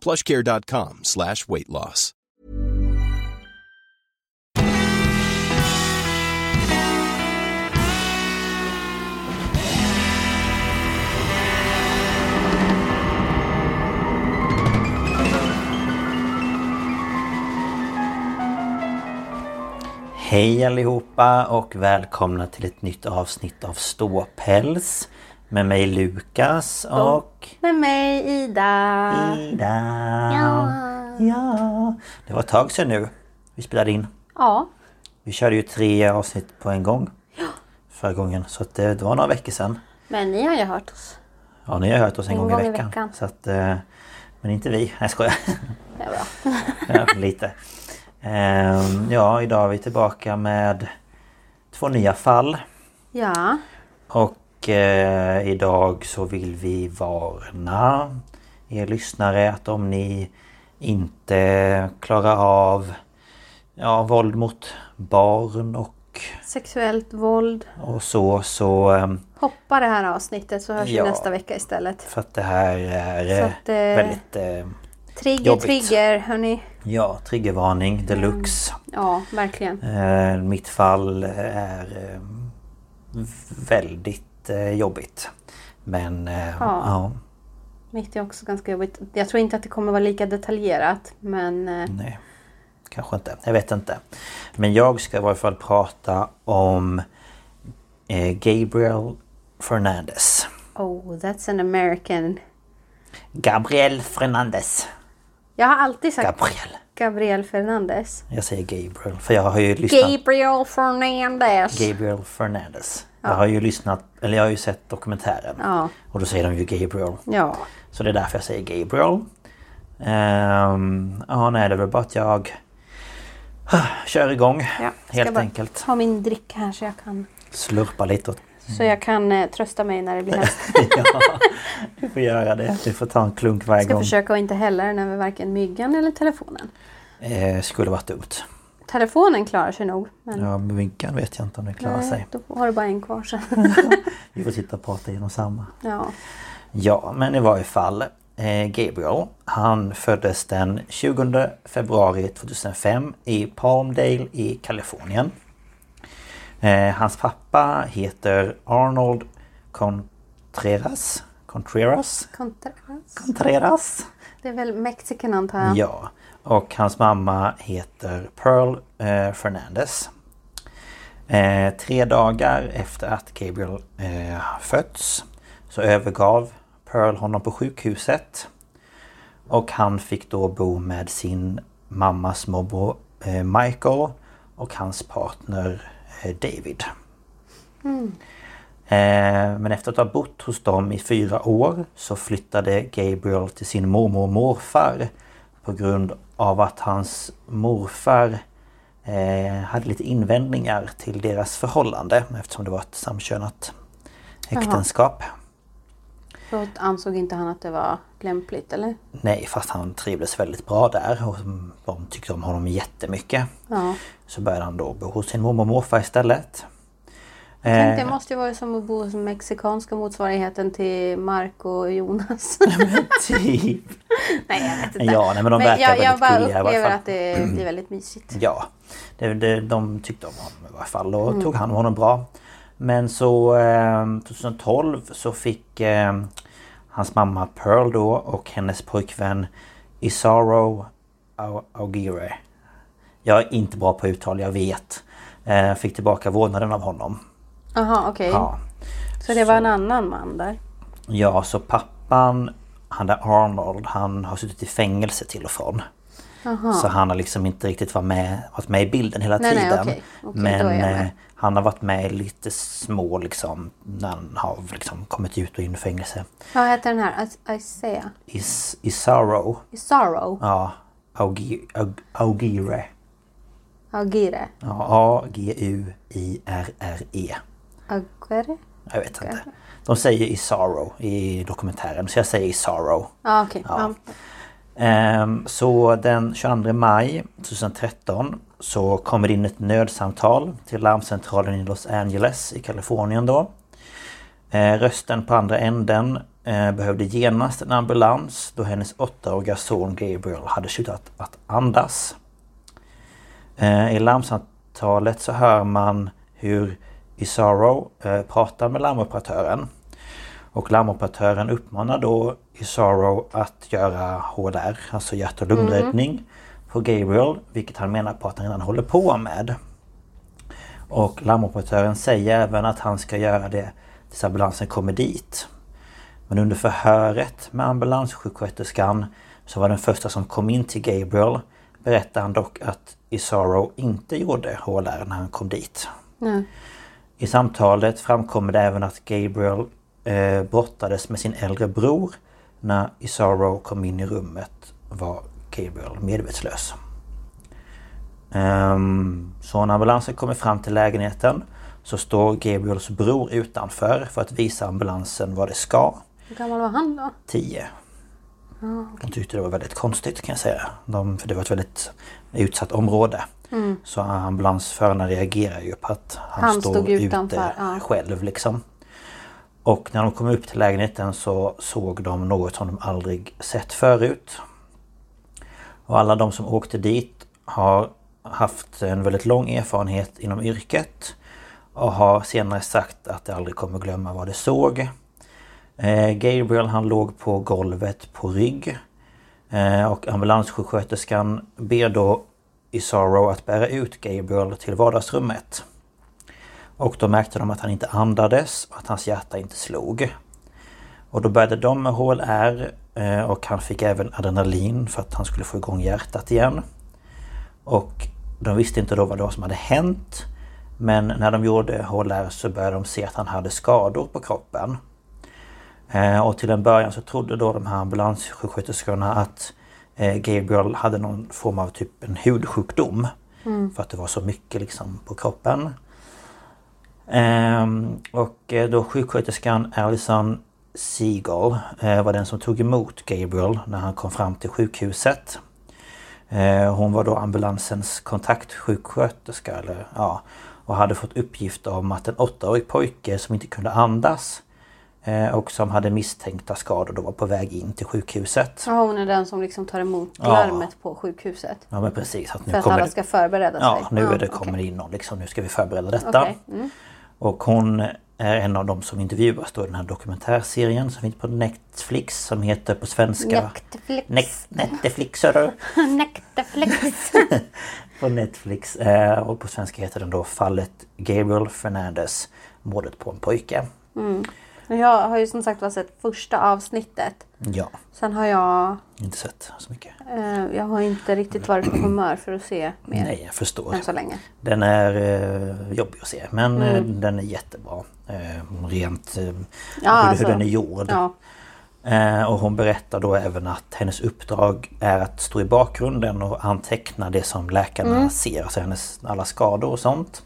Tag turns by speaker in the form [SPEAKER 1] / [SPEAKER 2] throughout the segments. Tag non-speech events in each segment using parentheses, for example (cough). [SPEAKER 1] Plushcare.com slash weight loss.
[SPEAKER 2] Hej allihopa och välkomna till ett nytt avsnitt av Ståpäls med mig Lukas och
[SPEAKER 3] Med mig Ida.
[SPEAKER 2] Ida.
[SPEAKER 3] Ja.
[SPEAKER 2] ja. Det var ett tag sedan nu vi spelade in.
[SPEAKER 3] Ja,
[SPEAKER 2] Vi körde ju tre avsnitt på en gång förra gången så att eh, det, det var några veckor sedan.
[SPEAKER 3] men ni har ju hört oss.
[SPEAKER 2] Ja, ni har hört oss en, gång, i veckan. Så att, eh, men inte vi. Nej, jag skojar. (laughs)
[SPEAKER 3] Det är bra.
[SPEAKER 2] Ja, lite. Ehm, ja, idag är vi tillbaka med två nya fall.
[SPEAKER 3] Ja,
[SPEAKER 2] Och eh, idag så vill vi varna er lyssnare att om ni inte klarar av ja, våld mot barn och,
[SPEAKER 3] sexuellt våld.
[SPEAKER 2] och så så eh,
[SPEAKER 3] Hoppa det här avsnittet så hörs
[SPEAKER 2] Ja.
[SPEAKER 3] vi nästa vecka istället.
[SPEAKER 2] för att det här är
[SPEAKER 3] Så
[SPEAKER 2] eh,
[SPEAKER 3] att, eh,
[SPEAKER 2] väldigt eh,
[SPEAKER 3] Trigger,
[SPEAKER 2] Jobbigt.
[SPEAKER 3] trigger hörni.
[SPEAKER 2] ja, triggervarning deluxe.
[SPEAKER 3] Ja, verkligen.
[SPEAKER 2] Eh, mitt fall är eh, väldigt eh, jobbigt. Men eh,
[SPEAKER 3] Ja.
[SPEAKER 2] ja,
[SPEAKER 3] Mitt är också ganska jobbigt. Jag tror inte att det kommer vara lika detaljerat, men eh,
[SPEAKER 2] Nej, kanske inte. Jag vet inte. Men jag ska i varje fall prata om eh, Gabriel Fernandez.
[SPEAKER 3] oh, that's an American.
[SPEAKER 2] Gabriel Fernandez.
[SPEAKER 3] Jag har alltid sagt
[SPEAKER 2] Gabriel.
[SPEAKER 3] Gabriel Fernandez.
[SPEAKER 2] Jag säger Gabriel för jag har ju lyssnat...
[SPEAKER 3] Gabriel Fernandez.
[SPEAKER 2] Gabriel Fernandez. Jag har ju lyssnat, eller jag har ju sett dokumentären.
[SPEAKER 3] Ja.
[SPEAKER 2] Och då säger de ju Gabriel.
[SPEAKER 3] ja,
[SPEAKER 2] Så det är därför jag säger Gabriel. Ehm, Ja, nej det är väl bara att jag (sighs) kör igång.
[SPEAKER 3] ja. Ska
[SPEAKER 2] Helt
[SPEAKER 3] bara
[SPEAKER 2] enkelt.
[SPEAKER 3] Ta min dricka här så jag kan,
[SPEAKER 2] Slurpa lite åt
[SPEAKER 3] så jag kan eh, trösta mig när det blir hemskt.
[SPEAKER 2] Du får göra det. Du får ta en klunk varje
[SPEAKER 3] ska
[SPEAKER 2] gång.
[SPEAKER 3] försöka att inte hälla den över varken myggan eller telefonen.
[SPEAKER 2] Eh, skulle varit dumt.
[SPEAKER 3] Telefonen klarar sig nog. Men
[SPEAKER 2] Ja, men vinkan vet jag inte om den klarar sig.
[SPEAKER 3] då har du bara en kvar sen. (laughs)
[SPEAKER 2] Vi får sitta och prata igenom samma.
[SPEAKER 3] ja.
[SPEAKER 2] Ja, men i varje fall. Eh, Gabriel, han föddes den 20 februari 2005 i Palmdale i Kalifornien. Eh, hans pappa heter Arnold Contreras. Contreras?
[SPEAKER 3] Contras.
[SPEAKER 2] Contreras?
[SPEAKER 3] Det är väl mexican antar jag.
[SPEAKER 2] Ja. Och hans mamma heter Pearl eh, Fernandez. Eh, tre dagar efter att Gabriel eh, fötts så övergav Pearl honom på sjukhuset. Och han fick då bo med sin mammas morbror eh, Michael och hans partner eh, David. Eh, Men efter att ha bott hos dem i fyra år så flyttade Gabriel till sin mormor och morfar på grund av att hans morfar eh, hade lite invändningar till deras förhållande eftersom det var ett samkönat äktenskap.
[SPEAKER 3] Då ansåg inte han att det var lämpligt eller?
[SPEAKER 2] Nej, fast han trivdes väldigt bra där och de tyckte om honom jättemycket.
[SPEAKER 3] Ja.
[SPEAKER 2] Så började han då bo hos sin mormor och morfar istället.
[SPEAKER 3] Tänk,
[SPEAKER 2] Eh,
[SPEAKER 3] det måste ju vara som att bo hos den mexikanska motsvarigheten till Marco och Jonas. (laughs)
[SPEAKER 2] (laughs) typ.
[SPEAKER 3] nej jag vet inte.
[SPEAKER 2] Mm. Ja, nej, men de verkar
[SPEAKER 3] jag, jag
[SPEAKER 2] väldigt
[SPEAKER 3] bara
[SPEAKER 2] gulliga i alla
[SPEAKER 3] upplever
[SPEAKER 2] fall. Mm.
[SPEAKER 3] att det blir väldigt mysigt.
[SPEAKER 2] Ja, det, det, de tyckte om honom i varje fall och tog hand om honom bra. Men så eh, 2012 så fick eh, hans mamma Pearl då och hennes pojkvän Isaro Au- Aguirre. Jag är inte bra på uttal, jag vet. Eh, fick tillbaka vårdnaden av honom.
[SPEAKER 3] Jaha okej.
[SPEAKER 2] Ja.
[SPEAKER 3] Så det var en annan man där.
[SPEAKER 2] ja, så pappan, han där Arnold, han har suttit i fängelse till och från.
[SPEAKER 3] Jaha.
[SPEAKER 2] Så han har liksom inte riktigt varit med, varit med i bilden hela
[SPEAKER 3] Nej, nej,
[SPEAKER 2] tiden.
[SPEAKER 3] okej. Okej, då
[SPEAKER 2] Men
[SPEAKER 3] är jag med.
[SPEAKER 2] eh, han har varit med i lite små liksom när han har liksom kommit ut och in i fängelse.
[SPEAKER 3] Vad heter den här? Is- Isaiah?
[SPEAKER 2] Is, Isaro,
[SPEAKER 3] Isaro?
[SPEAKER 2] ja. Augi- Aug- Augire.
[SPEAKER 4] Agire.
[SPEAKER 2] Ja, A-G-U-I-R-R-E.
[SPEAKER 4] Agire?
[SPEAKER 2] E. Jag vet inte. De säger i sorrow i dokumentären, så jag säger i sorrow.
[SPEAKER 4] Ja, okej.
[SPEAKER 2] Ja.
[SPEAKER 4] Ja.
[SPEAKER 2] Ehm, Så den 22 maj 2013 så kommer det in ett nödsamtal till larmcentralen i Los Angeles i Kalifornien då. Eh, Rösten på andra änden eh, behövde genast en ambulans då hennes åttaåriga son Gabriel hade slutat att andas. Eh, I larmsamtalet så hör man hur Isaro eh, pratar med larmoperatören. Och larmoperatören uppmanar då Isaro att göra HDR, alltså hjärt och lungräddning på Gabriel, vilket han menar på att han redan håller på med. Och larmoperatören säger även att han ska göra det tills ambulansen kommer dit. Men under förhöret med ambulanssjuksköterskan som var den första som kom in till Gabriel berättar han dock att Isaro inte gjorde HLR när han kom dit.
[SPEAKER 4] Nej.
[SPEAKER 2] I samtalet framkommer det även att Gabriel eh, brottades med sin äldre bror när Isaro kom in i rummet var Gabriel medvetslös. Ehm, så när ambulansen kommer fram till lägenheten så står Gabriels bror utanför för att visa ambulansen vad det ska.
[SPEAKER 4] Hur gammal var han då?
[SPEAKER 2] 10. De tyckte det var väldigt konstigt kan jag säga. De, för det var ett väldigt utsatt område. Så ambulansförarna reagerar ju på att han,
[SPEAKER 4] Mm. Han
[SPEAKER 2] står
[SPEAKER 4] stod
[SPEAKER 2] ute
[SPEAKER 4] utanför, ja.
[SPEAKER 2] själv liksom. Och när de kom upp till lägenheten så såg de något som de aldrig sett förut. Och alla de som åkte dit har haft en väldigt lång erfarenhet inom yrket. Och har senare sagt att de aldrig kommer glömma vad de såg. Eh, Gabriel han låg på golvet på rygg. Eh, och ambulanssjuksköterskan ber då Isaro att bära ut Gabriel till vardagsrummet. Och då märkte de att han inte andades och att hans hjärta inte slog. Och då började de med HLR eh, och han fick även adrenalin för att han skulle få igång hjärtat igen. Och de visste inte då vad det var som hade hänt. Men när de gjorde HLR så började de se att han hade skador på kroppen. Eh, Och till en början så trodde då de här ambulanssjuksköterskorna att eh, Gabriel hade någon form av typ en hudsjukdom. För att det var så mycket liksom på kroppen. Ehm, och eh, då sjuksköterskan Alison Seagal eh, var den som tog emot Gabriel när han kom fram till sjukhuset. Eh, hon var då ambulansens kontaktsjuksköterska. Eller, ja, och hade fått uppgift om att en åttaårig pojke som inte kunde andas eh, och som hade misstänkta skador då var på väg in till sjukhuset.
[SPEAKER 4] Ja, hon är den som liksom tar emot
[SPEAKER 2] Ja.
[SPEAKER 4] larmet på sjukhuset.
[SPEAKER 2] Ja men precis. Att nu
[SPEAKER 4] För att
[SPEAKER 2] kommer
[SPEAKER 4] alla
[SPEAKER 2] det-
[SPEAKER 4] ska förbereda
[SPEAKER 2] Ja,
[SPEAKER 4] sig.
[SPEAKER 2] nu är det,
[SPEAKER 4] okej.
[SPEAKER 2] kommer det in någon liksom. Nu ska vi förbereda detta.
[SPEAKER 4] Okej. Mm.
[SPEAKER 2] Och hon är en av de som intervjuas då i den här dokumentärserien som finns på Netflix som heter på svenska...
[SPEAKER 4] Netflix.
[SPEAKER 2] Nex- Netflix hörru!
[SPEAKER 4] (laughs)
[SPEAKER 2] (laughs)
[SPEAKER 4] Netflix.
[SPEAKER 2] På Netflix. eh, Och på svenska heter den då Fallet Gabriel Fernandez Mordet på en pojke.
[SPEAKER 4] Jag har ju som sagt var sett första avsnittet.
[SPEAKER 2] Ja,
[SPEAKER 4] Sen har jag...
[SPEAKER 2] inte sett så mycket.
[SPEAKER 4] Eh, jag har inte riktigt varit på humör för att se mer Alltså.
[SPEAKER 2] Nej, jag förstår.
[SPEAKER 4] än så länge.
[SPEAKER 2] Den är eh, jobbig att se men eh,
[SPEAKER 4] Mm.
[SPEAKER 2] den är jättebra. Eh, rent eh, hur,
[SPEAKER 4] alltså.
[SPEAKER 2] hur den är gjord.
[SPEAKER 4] Ja.
[SPEAKER 2] Eh, Och hon berättar då även att hennes uppdrag är att stå i bakgrunden och anteckna det som läkarna
[SPEAKER 4] Mm.
[SPEAKER 2] ser, alltså hennes alla skador och sånt.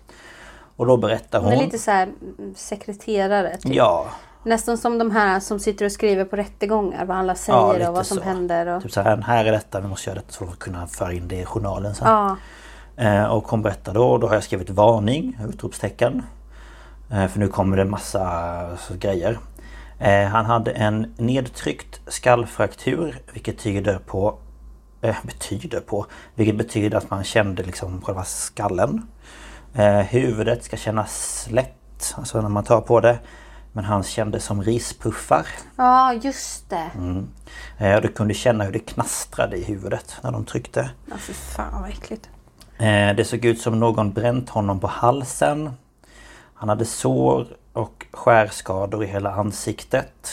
[SPEAKER 2] Och då berättar
[SPEAKER 4] Hon
[SPEAKER 2] hon...
[SPEAKER 4] är lite så här mm, sekreterare. Typ.
[SPEAKER 2] Ja,
[SPEAKER 4] Nästan som de här som sitter och skriver på rättegångar. Vad alla
[SPEAKER 2] Ja,
[SPEAKER 4] säger
[SPEAKER 2] lite
[SPEAKER 4] och vad som
[SPEAKER 2] så.
[SPEAKER 4] händer. Och...
[SPEAKER 2] typ så här, här är detta, vi måste göra detta så för att kunna föra in det i journalen sen.
[SPEAKER 4] Ja.
[SPEAKER 2] Eh, Och hon berättar då, då har jag skrivit varning, utropstecken. Eh, För nu kommer det massa så- grejer. Eh, Han hade en nedtryckt skallfraktur vilket tyder på... eh, Betyder på? Vilket betyder att man kände liksom själva skallen. Eh, Huvudet ska kännas lätt, alltså när man tar på det. Men han kände som rispuffar.
[SPEAKER 4] ja, just det.
[SPEAKER 2] Eh, Du kunde känna hur det knastrade i huvudet när de tryckte.
[SPEAKER 4] Ja, fy fan vad äckligt.
[SPEAKER 2] Eh, Det såg ut som någon bränt honom på halsen. Han hade sår och skärskador i hela ansiktet.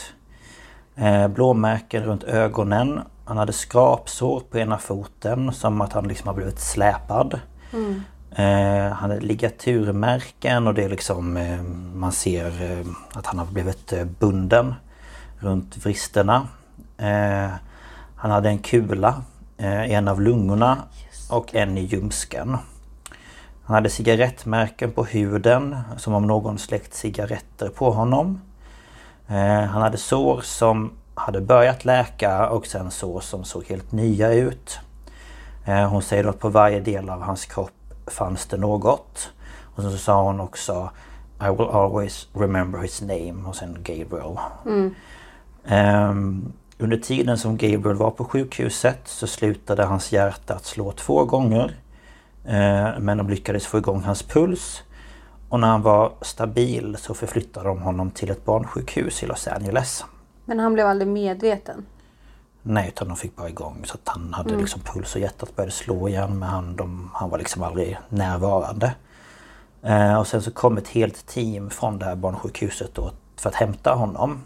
[SPEAKER 2] Eh, Blåmärken runt ögonen. Han hade skrapsår på ena foten som att han liksom har blivit släpad. Eh, Han hade ligaturmärken och det är liksom eh, man ser eh, att han har blivit eh, bunden runt vristerna. Eh, Han hade en kula eh, en av lungorna och en i ljumsken. Han hade cigarettmärken på huden som om någon släckt cigaretter på honom. Eh, Han hade sår som hade börjat läka och sen sår som såg helt nya ut. Eh, Hon säger att på varje del av hans kropp fanns det något. Och så sa hon också I will always remember his name och sen Gabriel. Ehm, under tiden som Gabriel var på sjukhuset så slutade hans hjärta att slå två gånger. Eh, men de lyckades få igång hans puls. Och när han var stabil så förflyttade de honom till ett barnsjukhus i Los Angeles.
[SPEAKER 4] Men han blev aldrig medveten.
[SPEAKER 2] Nej, utan de fick bara igång så att han hade liksom puls och hjärtat började slå igen. Men han, de, han var liksom aldrig närvarande. Eh, och sen så kom ett helt team från det här barnsjukhuset då för att hämta honom.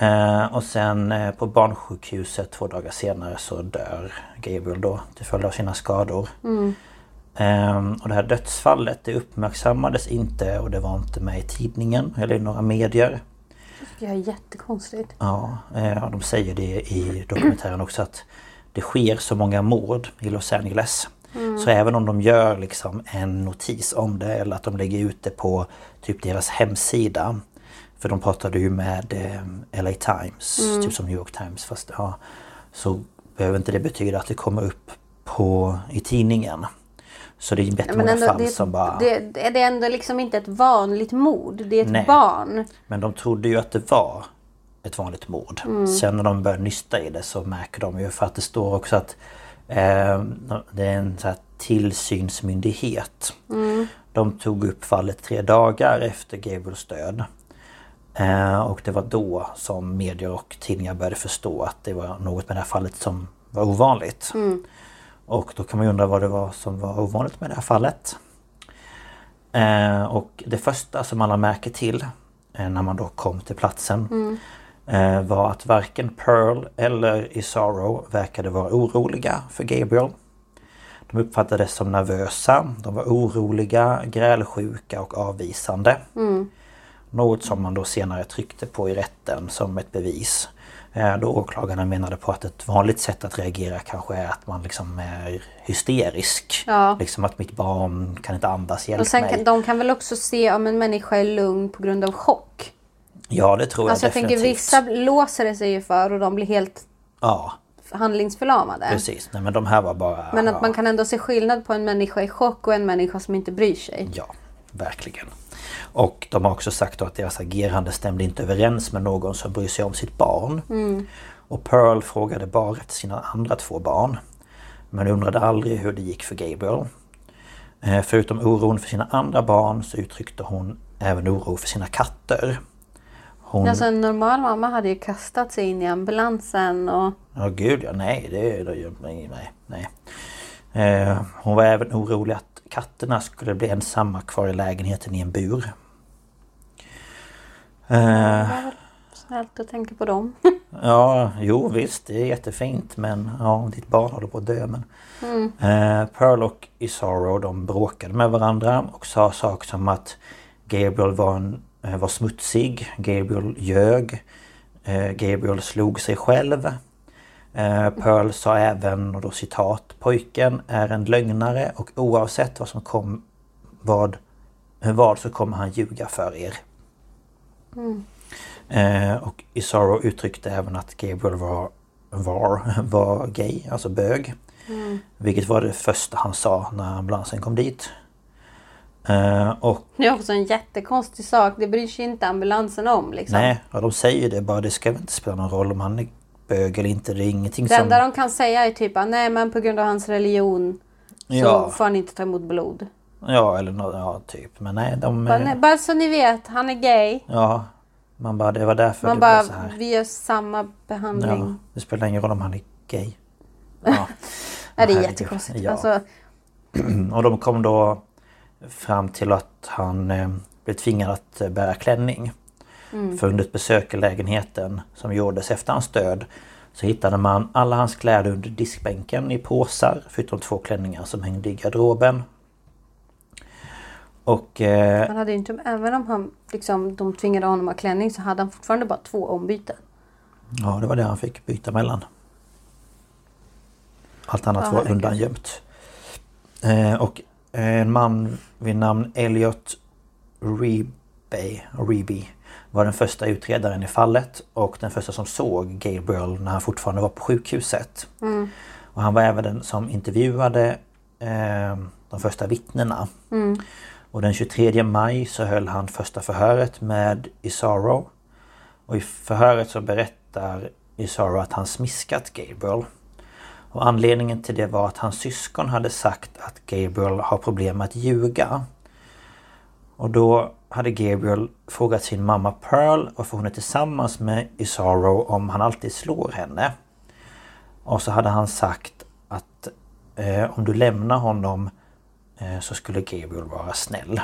[SPEAKER 2] Eh, och sen eh, på barnsjukhuset två dagar senare så dör Gabriel då till följd av sina skador. Ehm, och det här dödsfallet det uppmärksammades inte och det var inte med i tidningen eller i några medier.
[SPEAKER 4] Det tycker jag är jättekonstigt.
[SPEAKER 2] Ja, eh, och de säger det i dokumentären också att det sker så många mord i Los Angeles.
[SPEAKER 4] Mm.
[SPEAKER 2] Så även om de gör liksom en notis om det eller att de lägger ut det på typ deras hemsida. För de pratade ju med eh, LA Times,
[SPEAKER 4] Mm.
[SPEAKER 2] typ som New York Times. Fast, ja, så behöver inte det betyda att det kommer upp på, i tidningen. Så det är
[SPEAKER 4] Men
[SPEAKER 2] jättemånga
[SPEAKER 4] ändå,
[SPEAKER 2] fall
[SPEAKER 4] det, är ett-
[SPEAKER 2] som bara...
[SPEAKER 4] det, det är ändå liksom inte ett vanligt mord. Det är ett
[SPEAKER 2] Nej.
[SPEAKER 4] barn.
[SPEAKER 2] Men de trodde ju att det var ett vanligt mord. Sen när de börjar nysta i det så märker de ju för att det står också att eh, det är en så här tillsynsmyndighet. De tog upp fallet tre dagar efter Gabriels död. Eh, och det var då som medier och tidningar började förstå att det var något med det här fallet som var ovanligt. Och då kan man ju undra vad det var som var ovanligt med det här fallet. Eh, och det första som alla märker till eh, när man då kom till platsen eh, var att varken Pearl eller Isaro verkade vara oroliga för Gabriel. De uppfattades som nervösa, de var oroliga, grälsjuka och avvisande. Något som man då senare tryckte på i rätten som ett bevis. Eh, Då åklagarna menade på att ett vanligt sätt att reagera kanske är att man liksom är hysterisk.
[SPEAKER 4] Ja.
[SPEAKER 2] Liksom att mitt barn kan inte andas, hjälp
[SPEAKER 4] Och sen
[SPEAKER 2] mig.
[SPEAKER 4] kan, de kan väl också se om en människa är lugn på grund av chock.
[SPEAKER 2] Ja det tror jag
[SPEAKER 4] Alltså jag tänker
[SPEAKER 2] definitivt.
[SPEAKER 4] vissa låser det sig ju för och de blir helt
[SPEAKER 2] Ja
[SPEAKER 4] handlingsförlamade.
[SPEAKER 2] precis, nej men de här var bara...
[SPEAKER 4] Men
[SPEAKER 2] ja.
[SPEAKER 4] att man kan ändå se skillnad på en människa i chock och en människa som inte bryr sig.
[SPEAKER 2] Ja, verkligen. Och de har också sagt då att deras agerande stämde inte överens med någon som bryr sig om sitt barn.
[SPEAKER 4] Mm.
[SPEAKER 2] Och Pearl frågade bara efter sina andra två barn. Men undrade aldrig hur det gick för Gabriel. Eh, Förutom oron för sina andra barn så uttryckte hon även oro för sina katter. Hon...
[SPEAKER 4] Alltså en normal mamma hade ju kastat sig in i ambulansen och...
[SPEAKER 2] Ja gud ja, nej det... det- Nej, nej, nej. Eh, hon var även orolig att katterna skulle bli ensamma kvar i lägenheten i en bur. Eh,
[SPEAKER 4] Snällt att tänka på dem.
[SPEAKER 2] ja, jo visst det är jättefint men ja, ditt barn håller på att dö men... Eh, Pearl och Isaro de bråkade med varandra och sa saker som att Gabriel var, en, eh, var smutsig, Gabriel ljög, eh, Gabriel slog sig själv. Eh, Pearl sa även, och då citat, pojken är en lögnare och oavsett vad som kom vad, vad så kommer han ljuga för er. Eh, och Isaro uttryckte även att Gabriel var, var, (laughs) var gay, alltså bög.
[SPEAKER 4] Mm.
[SPEAKER 2] Vilket var det första han sa när ambulansen kom dit. Eh, och
[SPEAKER 4] Det är också en jättekonstig sak. Det bryr sig inte ambulansen om liksom.
[SPEAKER 2] nej, ja, de säger det bara, det ska väl inte spela någon roll om han är bög eller inte. Det är ingenting
[SPEAKER 4] Det
[SPEAKER 2] som...
[SPEAKER 4] enda de kan säga är typ att nej men på grund av hans religion så
[SPEAKER 2] Ja.
[SPEAKER 4] får han inte ta emot blod.
[SPEAKER 2] Ja, eller nå ja, typ. Men nej, de...
[SPEAKER 4] Bara,
[SPEAKER 2] eh,
[SPEAKER 4] "Nej, bara så ni vet, han är gay.
[SPEAKER 2] Ja, man bara det var därför
[SPEAKER 4] Man
[SPEAKER 2] det
[SPEAKER 4] bara, Mm.
[SPEAKER 2] blev så här.
[SPEAKER 4] vi gör samma behandling.
[SPEAKER 2] Ja, det spelar ingen roll om han är
[SPEAKER 4] (laughs)
[SPEAKER 2] gay. Ja.
[SPEAKER 4] Ja, det är
[SPEAKER 2] Herregud.
[SPEAKER 4] jättekonstigt.
[SPEAKER 2] Ja.
[SPEAKER 4] Alltså,
[SPEAKER 2] (clears throat) Och de kom då fram till att han eh, blev tvingad att eh, bära klänning. För under ett besök i lägenheten som gjordes efter hans död så hittade man alla hans kläder under diskbänken i påsar förutom två klänningar som hängde i garderoben. Och eh,
[SPEAKER 4] han hade ju inte, även om han, liksom, de tvingade honom att ha klänning så hade han fortfarande bara två ombyten.
[SPEAKER 2] Ja, det var det han fick byta mellan. Allt annat
[SPEAKER 4] Ja,
[SPEAKER 2] var
[SPEAKER 4] herregud.
[SPEAKER 2] undangömt. Eh, och en man vid namn Elliot Reby, Reby var den första utredaren i fallet och den första som såg Gabriel när han fortfarande var på sjukhuset.
[SPEAKER 4] Mm.
[SPEAKER 2] Och han var även den som intervjuade eh, de första vittnena.
[SPEAKER 4] Mm.
[SPEAKER 2] Och den 23 maj så höll han första förhöret med Isaro. Och i förhöret så berättar Isaro att han smiskat Gabriel. Och anledningen till det var att hans syskon hade sagt att Gabriel har problem med att ljuga. Och då hade Gabriel frågat sin mamma Pearl varför hon är tillsammans med Isaro om han alltid slår henne. Och så hade han sagt att eh, om du lämnar honom eh, så skulle Gabriel vara snäll.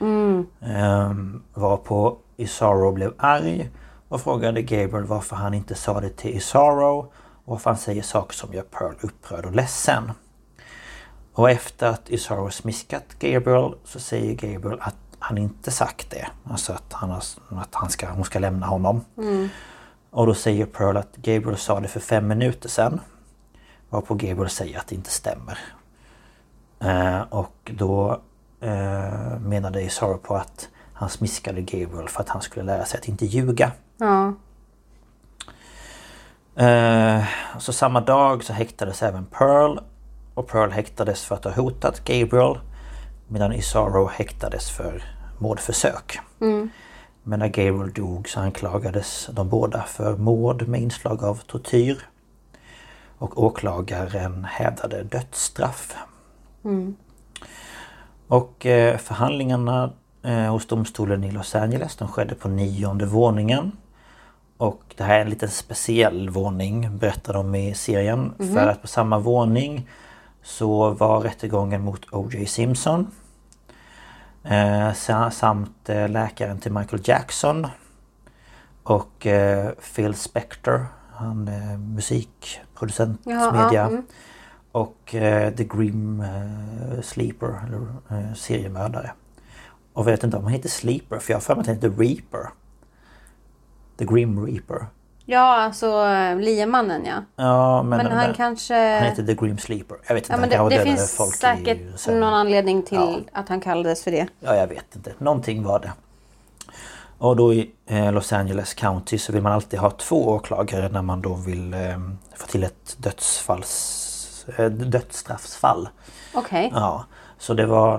[SPEAKER 4] Mm.
[SPEAKER 2] Ehm, varpå Isaro blev arg och frågade Gabriel varför han inte sa det till Isaro och varför han säger saker som gör Pearl upprörd och ledsen. Och efter att Isaro smiskat Gabriel så säger Gabriel att han inte sagt det. Alltså att, han, har, att han ska, hon ska lämna honom.
[SPEAKER 4] Mm.
[SPEAKER 2] Och då säger Pearl att Gabriel sa det för fem minuter sedan. Varpå Gabriel säger att det inte stämmer. Eh, och då eh, menade Isaro på att han smiskade Gabriel för att han skulle lära sig att inte ljuga.
[SPEAKER 4] Ja.
[SPEAKER 2] Eh, så samma dag så häktades även Pearl. Och Pearl häktades för att ha hotat Gabriel. Medan Isaro häktades för mordförsök.
[SPEAKER 4] Mm.
[SPEAKER 2] Men när Gabriel dog så anklagades de båda för mord med inslag av tortyr. Och åklagaren hävdade dödsstraff.
[SPEAKER 4] Mm.
[SPEAKER 2] Och eh, förhandlingarna eh, hos domstolen i Los Angeles de skedde på nionde våningen. Och det här är en liten speciell våning berättar de i serien.
[SPEAKER 4] Mhm.
[SPEAKER 2] För att på samma våning så var rättegången mot O.J. Simpson. Eh, sa- samt eh, läkaren till Michael Jackson. Och eh, Phil Spector, han eh, musikproducent,
[SPEAKER 4] Jaha, ja,
[SPEAKER 2] media.
[SPEAKER 4] mm.
[SPEAKER 2] Och eh, The Grim eh, Sleeper, eller eh, seriemördare. Och vet inte om han heter Sleeper, för jag har för mig att han heter Reaper. The Grim Reaper.
[SPEAKER 4] Ja, alltså eh, liemannen ja.
[SPEAKER 2] Ja, men,
[SPEAKER 4] Men, han
[SPEAKER 2] men-
[SPEAKER 4] kanske...
[SPEAKER 2] han heter The Grim Sleeper. Jag vet inte,
[SPEAKER 4] Ja, men
[SPEAKER 2] han kanske
[SPEAKER 4] det, det
[SPEAKER 2] dödade
[SPEAKER 4] finns
[SPEAKER 2] folk i...
[SPEAKER 4] säkert
[SPEAKER 2] sen-
[SPEAKER 4] någon anledning till
[SPEAKER 2] Ja.
[SPEAKER 4] att han kallades för det.
[SPEAKER 2] Ja, jag vet inte. Någonting var det. Och då i eh, Los Angeles County så vill man alltid ha två åklagare när man då vill eh, få till ett dödsfalls, eh, dödsstraffsfall.
[SPEAKER 4] Okej.
[SPEAKER 2] Ja, så det var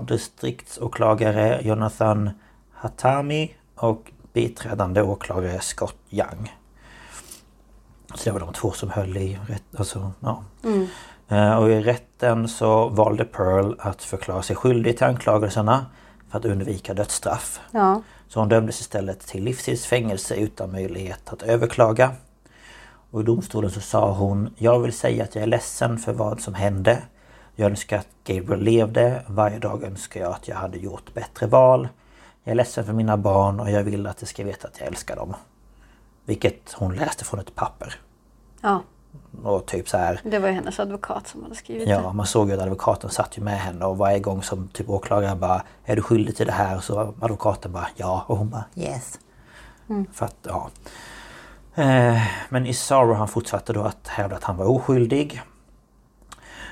[SPEAKER 2] distriktsåklagare Jonathan Hatami och biträdande åklagare Scott Young. Så det var de två som höll i rätt, alltså, ja.
[SPEAKER 4] Mm.
[SPEAKER 2] Eh, Och i rätten så valde Pearl att förklara sig skyldig till anklagelserna för att undvika dödsstraff.
[SPEAKER 4] Ja.
[SPEAKER 2] Så hon dömdes istället till livstids fängelse utan möjlighet att överklaga. Och i domstolen så sa hon Jag vill säga att jag är ledsen för vad som hände. Jag önskar att Gabriel levde. Varje dag önskar jag att jag hade gjort bättre val. Jag är ledsen för mina barn och jag vill att de ska veta att jag älskar dem. Vilket hon läste från ett papper.
[SPEAKER 4] ja.
[SPEAKER 2] Och typ så här
[SPEAKER 4] Det var ju hennes advokat som hade skrivit det.
[SPEAKER 2] Ja, man såg ju att advokaten satt ju med henne och varje gång som typ åklagaren bara Är du skyldig till det här? Så advokaten bara ja och hon bara yes.
[SPEAKER 4] Mm.
[SPEAKER 2] För att, ja. Eh, Men Isaro han fortsatte då att hävda att han var oskyldig.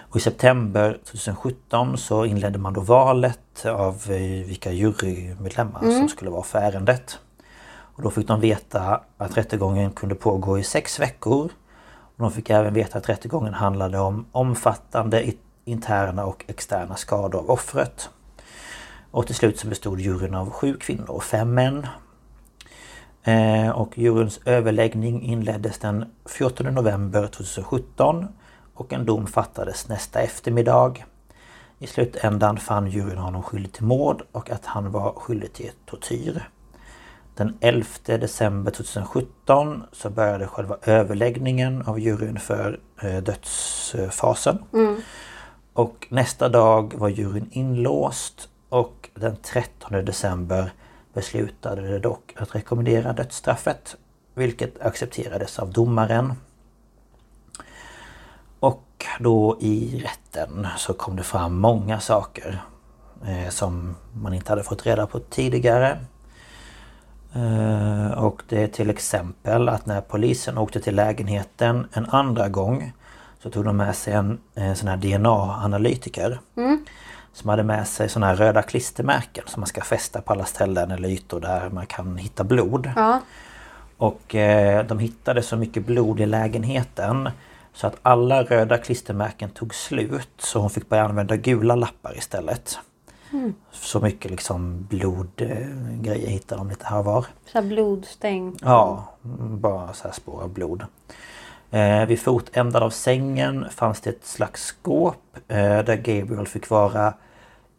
[SPEAKER 2] Och i september 2017 så inledde man då valet av eh, vilka jurymedlemmar
[SPEAKER 4] Mm.
[SPEAKER 2] som skulle vara för ärendet. Och då fick de veta att rättegången kunde pågå i sex veckor. Och de fick även veta att rättegången handlade om omfattande i- interna och externa skador av offret. Och till slut så bestod juryn av sju kvinnor och fem män. Eh, och juryns överläggning inleddes den 14 november 2017 och en dom fattades nästa eftermiddag. I slutändan fann juryn honom skyldig till mord och att han var skyldig till tortyr. Den 11 december 2017 så började själva överläggningen av juryn för eh, dödsfasen.
[SPEAKER 4] Mm.
[SPEAKER 2] Och nästa dag var juryn inlåst och den 13 december beslutade det dock att rekommendera dödsstraffet. Vilket accepterades av domaren. Och då i rätten så kom det fram många saker eh, som man inte hade fått reda på tidigare. Eh, och det är till exempel att när polisen åkte till lägenheten en andra gång så tog de med sig en, en sån här DNA-analytiker. Som hade med sig såna här röda klistermärken som man ska fästa på alla ställen eller ytor där man kan hitta blod.
[SPEAKER 4] Ja.
[SPEAKER 2] Och eh, de hittade så mycket blod i lägenheten så att alla röda klistermärken tog slut så hon fick börja använda gula lappar istället. Så mycket liksom blodgrejer hittade de lite här och var.
[SPEAKER 4] Så här blodstäng.
[SPEAKER 2] Ja, mm, bara så här spår av blod. Eh, vid fotändan av sängen fanns det ett slags skåp eh, där Gabriel fick vara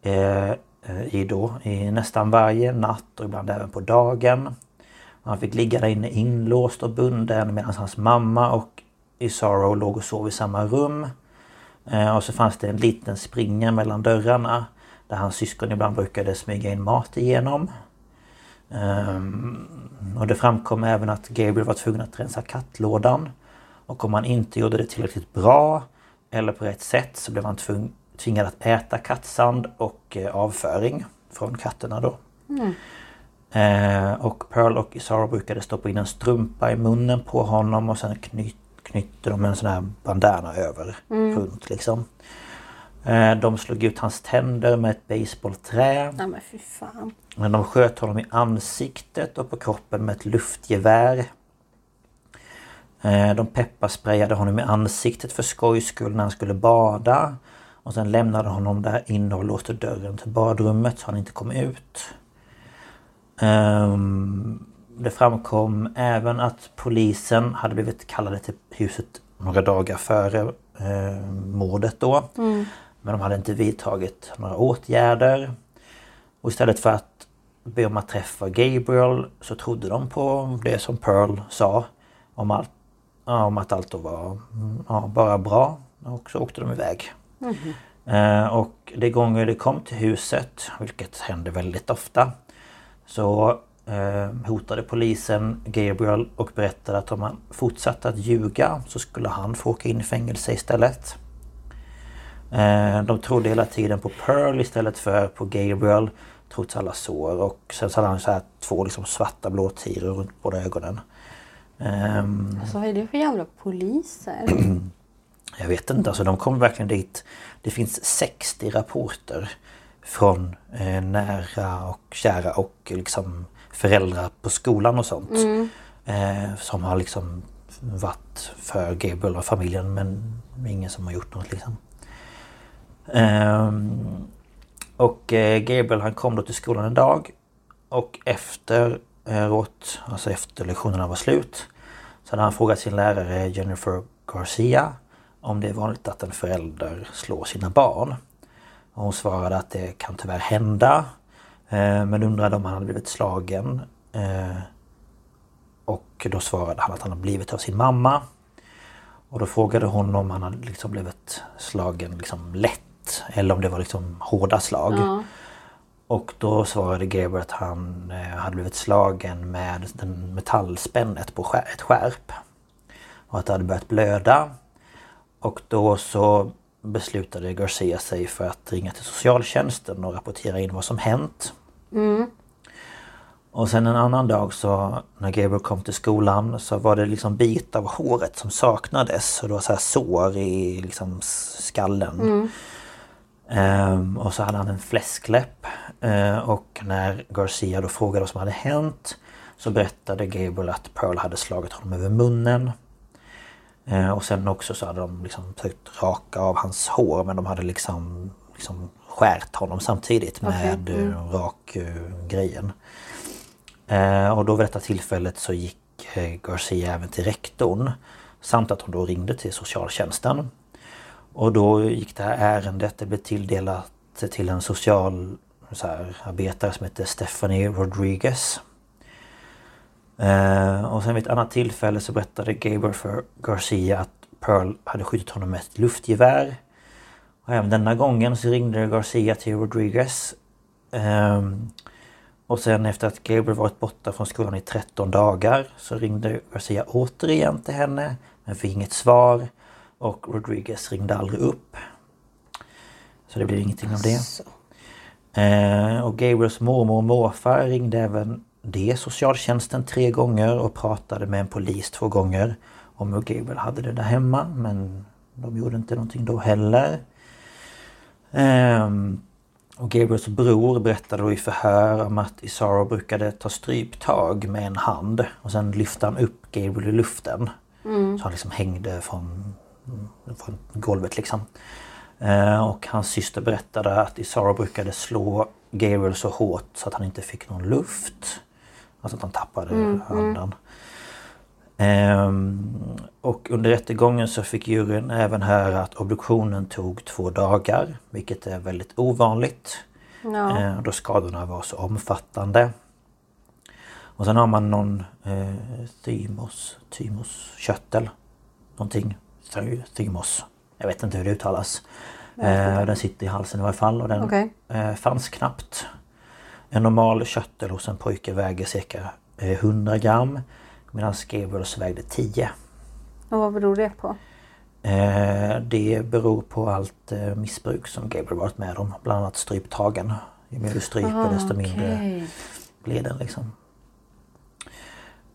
[SPEAKER 2] eh, eh, i då i nästan varje natt och ibland även på dagen. Han fick ligga där inne inlåst och bunden medan hans mamma och Isaro låg och sov i samma rum. Eh, och så fanns det en liten springa mellan dörrarna där hans syskon ibland brukade smyga in mat igenom. Ehm, och det framkom även att Gabriel var tvungen att rensa kattlådan. Och om han inte gjorde det tillräckligt bra eller på rätt sätt så blev han tvung- tvingad att äta kattsand och eh, avföring från katterna då. Eh, och Pearl och Isara brukade stoppa in en strumpa i munnen på honom och sen kny- knytte de en sån här bandana över runt liksom. Eh, de slog ut hans tänder med ett baseballträ.
[SPEAKER 4] Nej men fy fan.
[SPEAKER 2] Men de sköt honom i ansiktet och på kroppen med ett luftgevär. Eh, De pepparsprayade honom i ansiktet för skojs skull när han skulle bada. Och sen lämnade honom där inne och låste dörren till badrummet så han inte kom ut. Ehm, Det framkom även att polisen hade blivit kallade till huset några dagar före eh, mordet då. Men de hade inte vidtagit några åtgärder. Och istället för att be om att träffa Gabriel så trodde de på det som Pearl sa. Om, allt, ja, om att allt då var mm, ja, bara bra. Och så åkte de iväg. Eh, och de gånger de kom till huset, vilket hände väldigt ofta, så eh, hotade polisen Gabriel och berättade att om han fortsatte att ljuga så skulle han få åka in i fängelse istället. Eh, De trodde hela tiden på Pearl istället för på Gabriel Trots alla sår och sen så hade han så här två liksom svarta blåtiror runt båda ögonen. Ehm,
[SPEAKER 4] Alltså vad är det för jävla
[SPEAKER 2] (clears throat)
[SPEAKER 4] poliser?
[SPEAKER 2] Jag vet inte, alltså de kom verkligen dit. Det finns 60 rapporter från eh, nära och kära och liksom föräldrar på skolan och sånt. Eh, som har liksom varit för Gabriel och familjen men ingen som har gjort något liksom. Ehm, och eh, Gabriel han kom då till skolan en dag och efter eh, råt, alltså efter lektionerna var slut så hade han frågat sin lärare Jennifer Garcia om det är vanligt att en förälder slår sina barn. Och hon svarade att det kan tyvärr hända eh, men undrade om han hade blivit slagen. Eh, och då svarade han att han hade blivit av sin mamma. Och då frågade hon om han hade liksom blivit slagen liksom lätt eller om det var liksom hårda slag.
[SPEAKER 4] Ja.
[SPEAKER 2] Och då svarade Gabriel att han eh, hade blivit slagen med den metallspännet på skär, ett skärp. Och att det hade börjat blöda. Och då så beslutade Garcia sig för att ringa till socialtjänsten och rapportera in vad som hänt. Och sen en annan dag så när Gabriel kom till skolan så var det liksom bit av håret som saknades. Och det var så här sår i liksom s- skallen. Ehm, och så hade han en fläskläpp. Eh, och när Garcia då frågade vad som hade hänt så berättade Gabriel att Pearl hade slagit honom över munnen. Eh, och sen också så hade de liksom försökt raka av hans hår men de hade liksom, liksom skärt honom samtidigt med mm. rak-grejen. Eh, och då vid detta tillfället så gick eh, Garcia även till rektorn. Samt att hon då ringde till socialtjänsten. Och då gick det här ärendet, det blev tilldelat till en socialarbetare som heter Stephanie Rodriguez. Eh, och sen vid ett annat tillfälle så berättade Gabriel för Garcia att Pearl hade skjutit honom med ett luftgevär. Och även denna gången så ringde Garcia till Rodriguez. Ehm, och sen efter att Gabriel varit borta från skolan i 13 dagar så ringde Garcia återigen till henne men fick inget svar. Och Rodriguez ringde aldrig upp. Så det blev ingenting av det.
[SPEAKER 4] Så.
[SPEAKER 2] Eh, och Gabriels mormor och morfar ringde även det socialtjänsten tre gånger och pratade med en polis två gånger om hur Gabriel hade det där hemma men De gjorde inte någonting då heller. Ehm, och Gabriels bror berättade då i förhör om att Isaro brukade ta stryptag med en hand och sen lyfte han upp Gabriel i luften. Så han liksom hängde från, från golvet liksom. Eh, och hans syster berättade att Isaro brukade slå Gabriel så hårt så att han inte fick någon luft. Alltså att han tappade andan. Ehm, och under rättegången så fick juryn även höra att obduktionen tog två dagar, vilket är väldigt ovanligt.
[SPEAKER 4] Ja.
[SPEAKER 2] Eh, Då skadorna var så omfattande. Och sen har man någon eh, thymos, thymoskörtel. Någonting. Thy- Thymos. Jag vet inte hur det uttalas. Eh, den sitter i halsen i varje fall och den
[SPEAKER 4] Okej.
[SPEAKER 2] eh, fanns knappt. En normal körtel hos en pojke väger cirka eh, 100 gram. Medan Gabriels vägde 10.
[SPEAKER 4] Och vad beror det på?
[SPEAKER 2] Eh, det beror på allt eh, missbruk som Gabriel varit med om. Bland annat stryptagen. Ju mer du stryper desto mindre
[SPEAKER 4] Okej.
[SPEAKER 2] leden liksom.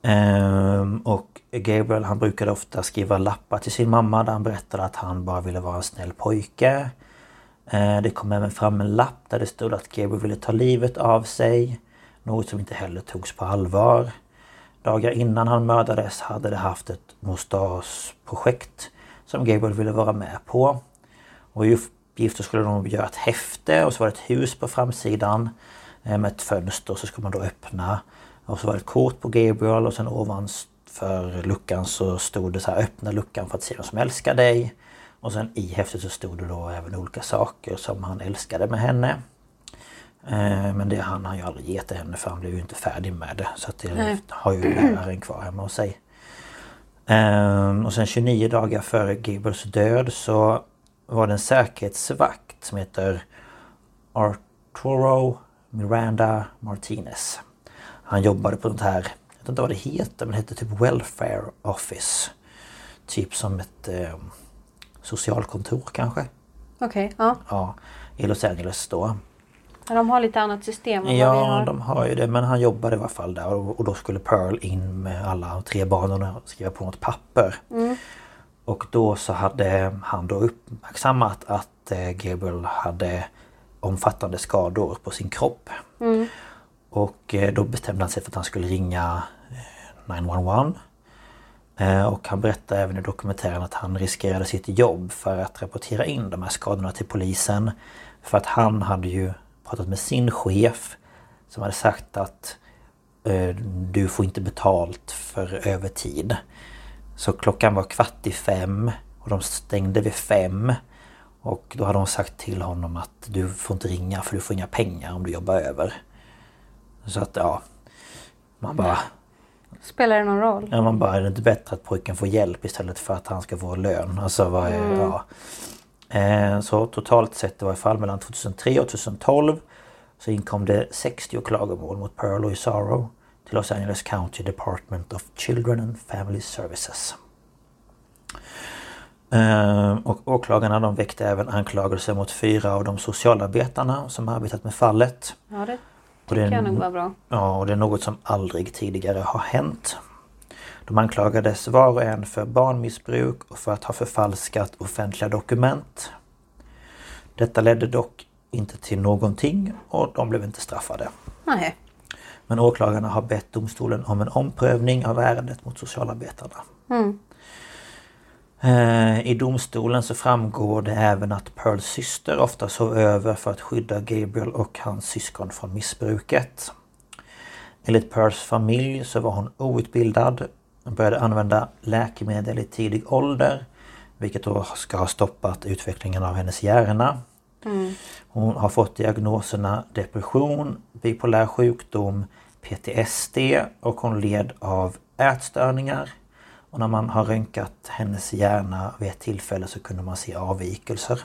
[SPEAKER 2] Ehm, och Gabriel han brukade ofta skriva lappar till sin mamma där han berättade att han bara ville vara en snäll pojke. Eh, det kom även fram en lapp där det stod att Gabriel ville ta livet av sig. Något som inte heller togs på allvar. Dagar innan han mördades hade de haft ett Mostas-projekt som Gabriel ville vara med på. Och i uppgifter skulle de göra ett häfte och så var det ett hus på framsidan eh, med ett fönster så skulle man då öppna. Och så var det ett kort på Gabriel och sen ovanför luckan så stod det så här öppna luckan för att se vem som älskar dig. Och sen i häftet så stod det då även olika saker som han älskade med henne. Eh, Men det hann han ju aldrig ge till henne för han blev ju inte färdig med det. Så att det
[SPEAKER 4] Nej.
[SPEAKER 2] har ju (clears throat) läraren kvar hemma hos sig. Ehm, och sen 29 dagar före Gabriels död så var det en säkerhetsvakt som heter Arturo Miranda Martinez. Han jobbade på något här, jag vet inte vad det heter, men det hette typ Welfare Office. Typ som ett eh, socialkontor kanske.
[SPEAKER 4] Okej, ja.
[SPEAKER 2] Ja, i Los Angeles då.
[SPEAKER 4] Ja, De har lite annat system än vad vi
[SPEAKER 2] Ja,
[SPEAKER 4] har.
[SPEAKER 2] de har ju det. Men han jobbade i alla fall där och, och då skulle Pearl in med alla tre barnen och skriva på något papper.
[SPEAKER 4] Mm.
[SPEAKER 2] Och då så hade han då uppmärksammat att eh, Gabriel hade omfattande skador på sin kropp.
[SPEAKER 4] Mm.
[SPEAKER 2] Och eh, då bestämde han sig för att han skulle ringa eh, 911. Eh, Och han berättar även i dokumentären att han riskerade sitt jobb för att rapportera in de här skadorna till polisen. För att han hade ju pratat med sin chef som hade sagt att eh, du får inte betalt för övertid. Så klockan var kvart i fem och de stängde vid fem. Och då hade de sagt till honom att du får inte ringa för du får inga pengar om du jobbar över. Så att ja, man bara...
[SPEAKER 4] Spelar det någon roll?
[SPEAKER 2] Ja, man bara, är det inte bättre att pojken får hjälp istället för att han ska få lön? Alltså, vad är, ja. Eh, Så totalt sett, det var i fall mellan 2003 och 2012 så inkom det 60 klagomål mot Pearl och Isaro till Los Angeles County Department of Children and Family Services. Eh, Och åklagarna de väckte även anklagelser mot fyra av de socialarbetarna som arbetat med fallet.
[SPEAKER 4] Ja, det
[SPEAKER 2] Och
[SPEAKER 4] tycker
[SPEAKER 2] det-
[SPEAKER 4] jag nog var bra.
[SPEAKER 2] Ja, och det är något som aldrig tidigare har hänt. De anklagades var och en för barnmissbruk och för att ha förfalskat offentliga dokument. Detta ledde dock inte till någonting och de blev inte straffade.
[SPEAKER 4] Nej.
[SPEAKER 2] Men åklagarna har bett domstolen om en omprövning av ärendet mot socialarbetarna.
[SPEAKER 4] Mm.
[SPEAKER 2] Eh, I domstolen så framgår det även att Pearls syster ofta sov över för att skydda Gabriel och hans syskon från missbruket. Enligt Pearls familj så var hon outbildad och började använda läkemedel i tidig ålder. Vilket då ska ha stoppat utvecklingen av hennes hjärna. Hon har fått diagnoserna depression, bipolär sjukdom, PTSD och hon led av ätstörningar. Och när man har röntgat hennes hjärna vid ett tillfälle så kunde man se avvikelser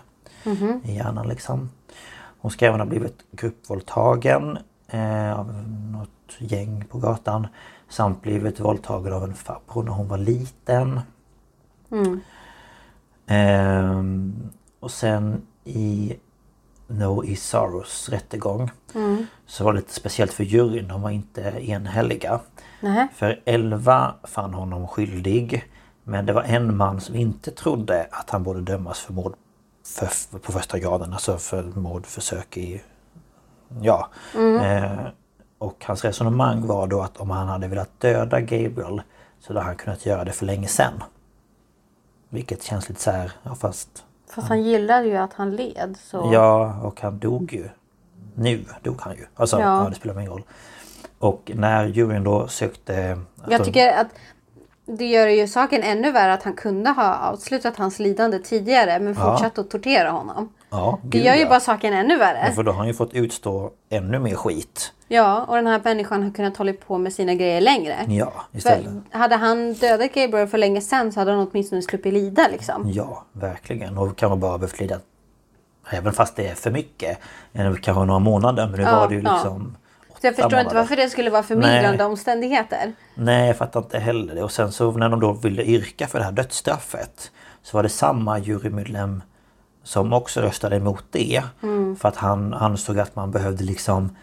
[SPEAKER 2] i hjärnan. Liksom. Hon ska även ha blivit gruppvåldtagen eh, av något gäng på gatan. Samt blivit våldtagen av en farbror när hon var liten.
[SPEAKER 4] mm.
[SPEAKER 2] Ehm, och sen i No Isaros rättegång så var det lite speciellt för juryn. De var inte enhälliga.
[SPEAKER 4] Nej.
[SPEAKER 2] För 11 fann honom skyldig Men det var en man som inte trodde att han borde dömas för mord för, på första graden, alltså för mordförsök i... Ja.
[SPEAKER 3] Mm.
[SPEAKER 2] Eh, och hans resonemang var då att om han hade velat döda Gabriel så hade han kunnat göra det för länge sedan. Vilket känns lite så här, ja fast...
[SPEAKER 3] Fast han gillade ju att han led. Så.
[SPEAKER 2] Ja, och han dog ju. Nu dog han ju. Alltså, ja.
[SPEAKER 3] Ja.
[SPEAKER 2] det spelar ingen roll. Och när juryn då sökte... att
[SPEAKER 3] Jag
[SPEAKER 2] de-
[SPEAKER 3] tycker att det gör ju saken ännu värre att han kunde ha avslutat hans lidande tidigare men
[SPEAKER 2] Ja.
[SPEAKER 3] fortsatt att tortera honom.
[SPEAKER 2] Ja,
[SPEAKER 3] Det
[SPEAKER 2] gud,
[SPEAKER 3] gör ju
[SPEAKER 2] ja.
[SPEAKER 3] bara saken ännu
[SPEAKER 2] Ja,
[SPEAKER 3] värre.
[SPEAKER 2] För då har han ju fått utstå ännu mer skit.
[SPEAKER 3] Ja, och den här människan har kunnat hålla på med sina grejer längre.
[SPEAKER 2] Ja,
[SPEAKER 3] För
[SPEAKER 2] istället.
[SPEAKER 3] hade han dödat Gabriel för länge sedan så hade han åtminstone sluppit lida liksom.
[SPEAKER 2] Ja, verkligen. Och kanske bara behövt lida, även fast det är för mycket, eh, kanske några månader. Men nu
[SPEAKER 3] Ja,
[SPEAKER 2] var det ju
[SPEAKER 3] ja.
[SPEAKER 2] liksom...
[SPEAKER 3] Så jag
[SPEAKER 2] åtta
[SPEAKER 3] förstår inte
[SPEAKER 2] månader.
[SPEAKER 3] varför det skulle vara förmildrande
[SPEAKER 2] Nej.
[SPEAKER 3] omständigheter.
[SPEAKER 2] Nej, jag fattar inte heller det. Och sen så när de då ville yrka för det här dödsstraffet så var det samma jurymedlem som också röstade emot det.
[SPEAKER 3] Mm.
[SPEAKER 2] För att han ansåg att man behövde liksom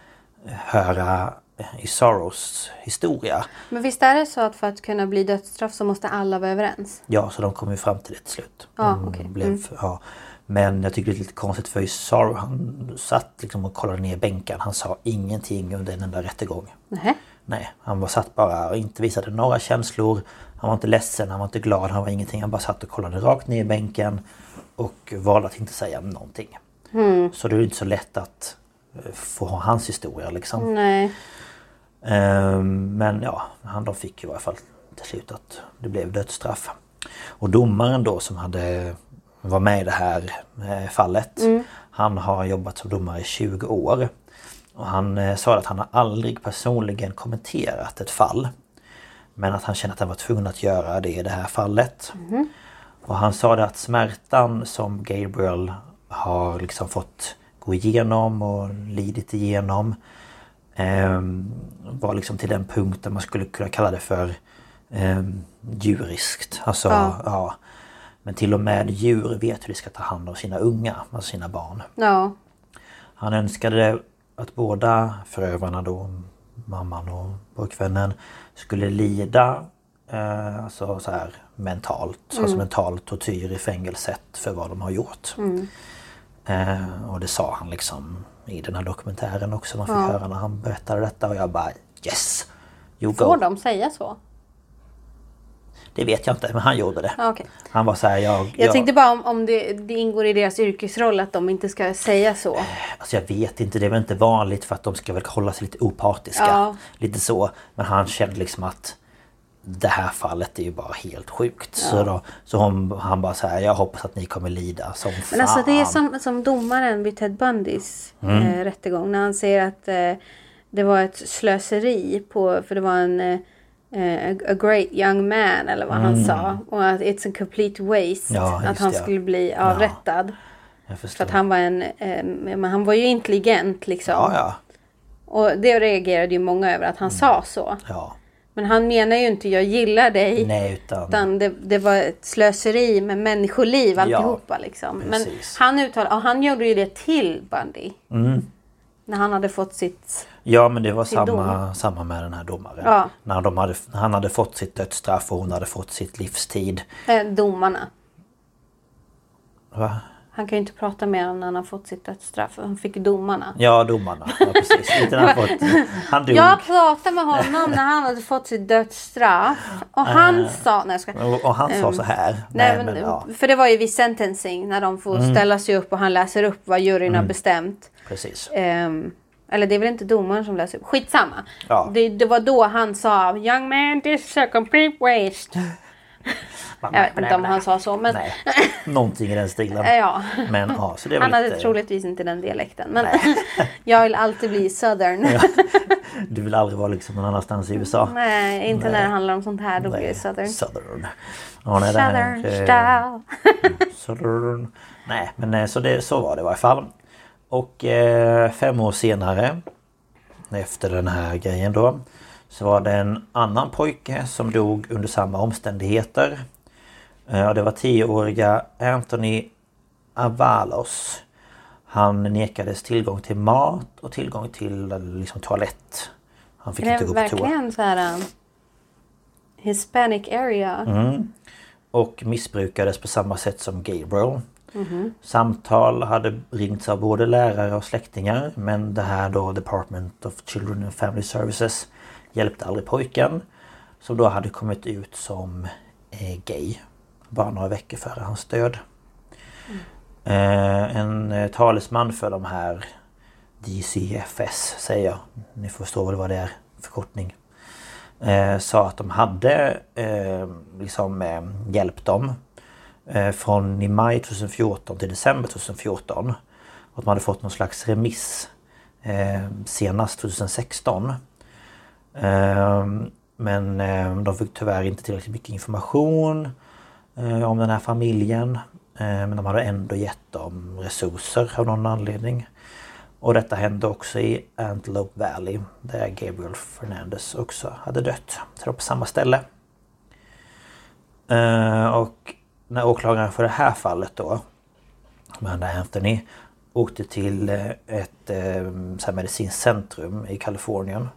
[SPEAKER 2] höra i Soros historia.
[SPEAKER 3] Men visst är det så att för att kunna bli dödsstraff så måste alla vara överens?
[SPEAKER 2] Ja, så de kom ju fram till det till slut.
[SPEAKER 3] Ja,
[SPEAKER 2] De
[SPEAKER 3] okej. Mm.
[SPEAKER 2] blev, ja. Men jag tycker det är lite konstigt för i Soros, han satt liksom och kollade ner bänken. Han sa ingenting under en enda rättegång.
[SPEAKER 3] Nej.
[SPEAKER 2] Nej, han var satt bara och inte visade några känslor. Han var inte ledsen, han var inte glad, han var ingenting. Han bara satt och kollade rakt ner i bänken och valde att inte säga någonting.
[SPEAKER 3] Mm.
[SPEAKER 2] Så det är ju inte så lätt att eh, få ha hans historia liksom.
[SPEAKER 3] Nej.
[SPEAKER 2] Ehm, Men ja, han de fick ju i alla fall till slut att det blev dödsstraff. Och domaren då som hade var med i det här eh, fallet. Han har jobbat som domare i 20 år. Och han eh, sa att han har aldrig personligen kommenterat ett fall. Men att han kände att han var tvungen att göra det i det här fallet. Och han sa det att smärtan som Gabriel har liksom fått gå igenom och lidit igenom ehm, var liksom till den punkt där man skulle kunna kalla det för ehm, djuriskt. Alltså, ja.
[SPEAKER 3] Ja.
[SPEAKER 2] Men till och med djur vet hur de ska ta hand om sina unga, alltså sina barn.
[SPEAKER 3] Ja.
[SPEAKER 2] Han önskade att båda förövarna då, mamman och pojkvännen, skulle lida eh, alltså så här, mentalt, alltså
[SPEAKER 3] Mm.
[SPEAKER 2] mental tortyr i fängelset för vad de har gjort.
[SPEAKER 3] Mm.
[SPEAKER 2] Eh, och det sa han liksom i den här dokumentären också, man fick höra när han berättade detta och jag bara yes! You
[SPEAKER 3] Får
[SPEAKER 2] go.
[SPEAKER 3] de säga så?
[SPEAKER 2] Det vet jag inte, men han gjorde det.
[SPEAKER 3] Ja, okej.
[SPEAKER 2] Han var så här, jag...
[SPEAKER 3] Jag tänkte bara om, om det, det ingår i deras yrkesroll att de inte ska säga så.
[SPEAKER 2] Alltså jag vet inte, det är väl inte vanligt för att de ska väl hålla sig lite opartiska.
[SPEAKER 3] Ja.
[SPEAKER 2] Lite så. Men han kände liksom att det här fallet är ju bara helt sjukt. Så, då, så hon, han bara så här, jag hoppas att ni kommer lida som fan. Mm.
[SPEAKER 3] Men alltså det är som, som domaren vid Ted Bundys eh, rättegång. När han säger att eh, det var ett slöseri på, för det var en eh, eh, A great young man eller vad han sa. Och att it's a complete waste.
[SPEAKER 2] Mm. Ja,
[SPEAKER 3] att
[SPEAKER 2] just
[SPEAKER 3] han
[SPEAKER 2] det, ja.
[SPEAKER 3] skulle bli avrättad.
[SPEAKER 2] Jag
[SPEAKER 3] För
[SPEAKER 2] förstår.
[SPEAKER 3] att han var en, eh, men han var ju intelligent liksom.
[SPEAKER 2] Ja, ja.
[SPEAKER 3] Och det reagerade ju många över att han sa så.
[SPEAKER 2] ja.
[SPEAKER 3] Men han menar ju inte jag gillar dig.
[SPEAKER 2] Nej, utan...
[SPEAKER 3] Utan det, det var ett slöseri med människoliv alltihopa. liksom. Men
[SPEAKER 2] precis.
[SPEAKER 3] han, uttalade, och han gjorde ju det till Bundy. När han hade fått sitt...
[SPEAKER 2] Ja, men det var
[SPEAKER 3] dom.
[SPEAKER 2] samma, samma med den här domaren.
[SPEAKER 3] Ja.
[SPEAKER 2] När de hade, han hade fått sitt dödsstraff och hon hade fått sitt livstid.
[SPEAKER 3] Eh, domarna.
[SPEAKER 2] Va?
[SPEAKER 3] Han kan ju inte prata mer om när han har fått sitt dödsstraff. Han fick domarna.
[SPEAKER 2] Ja, domarna. Ja, precis. Inte när han fått...
[SPEAKER 3] (laughs)
[SPEAKER 2] Han dog.
[SPEAKER 3] Jag pratade med honom när han hade fått sitt dödsstraff. Och han sa... Eh. Nej, jag ska...
[SPEAKER 2] Och, och han sa så här.
[SPEAKER 3] Mm. Nej, men, Mm. För det var ju vid sentencing när de får ställa sig upp och han läser upp vad juryn har bestämt.
[SPEAKER 2] Precis.
[SPEAKER 3] Ehm, eller det är väl inte domaren som läser upp. Skitsamma.
[SPEAKER 2] Ja.
[SPEAKER 3] Det, det var då han sa Young man this is a complete waste. Jag vet inte om han sa så men eh,
[SPEAKER 2] Nej,
[SPEAKER 3] (laughs)
[SPEAKER 2] någonting i den stilen.
[SPEAKER 3] ja.
[SPEAKER 2] Men ja, så det var
[SPEAKER 3] Han hade
[SPEAKER 2] lite...
[SPEAKER 3] troligtvis inte den dialekten. Men (laughs) jag vill alltid bli southern.
[SPEAKER 2] Du vill aldrig vara liksom någon annanstans i USA.
[SPEAKER 3] (laughs) Mm, Nej, inte när det handlar om sånt här. Då blir
[SPEAKER 2] Nej,
[SPEAKER 3] det southern.
[SPEAKER 2] Southern. Ja, nej, det här,
[SPEAKER 3] Southern
[SPEAKER 2] eh,
[SPEAKER 3] style.
[SPEAKER 2] southern. Nej, men eh, så, det, så var det i varje fall. Och eh, fem år senare, efter den här grejen då, så var det en annan pojke som dog under samma omständigheter. Eh, och det var 10-åriga Anthony Avalos. Han nekades tillgång till mat och tillgång till eh, liksom, toalett. Han fick
[SPEAKER 3] Det
[SPEAKER 2] inte
[SPEAKER 3] är
[SPEAKER 2] gå på toa. Mm.
[SPEAKER 3] verkligen så här um, Hispanic area.
[SPEAKER 2] och missbrukades på samma sätt som Gabriel. Samtal hade ringts av både lärare och släktingar men det här då Department of Children and Family Services hjälpte aldrig pojken. Som då hade kommit ut som eh, gay. Bara några veckor före hans död. Eh, en eh, talesman för de här DCFS säger jag. Ni förstår väl vad det är förkortning eh, sa att de hade eh, liksom, eh, hjälpt dem eh, från i maj 2014 till december 2014. Och att man hade fått någon slags remiss eh, senast 2016. Eh, men eh, de fick tyvärr inte tillräckligt mycket information eh, om den här familjen. Eh, men de hade ändå gett dem resurser av någon anledning. Och detta hände också i Antelope Valley där Gabriel Fernandez också hade dött. Så det var på samma ställe. Eh, och när åklagaren för det här fallet då Amanda Anthony åkte till eh, ett eh, så här medicinskt centrum i Kalifornien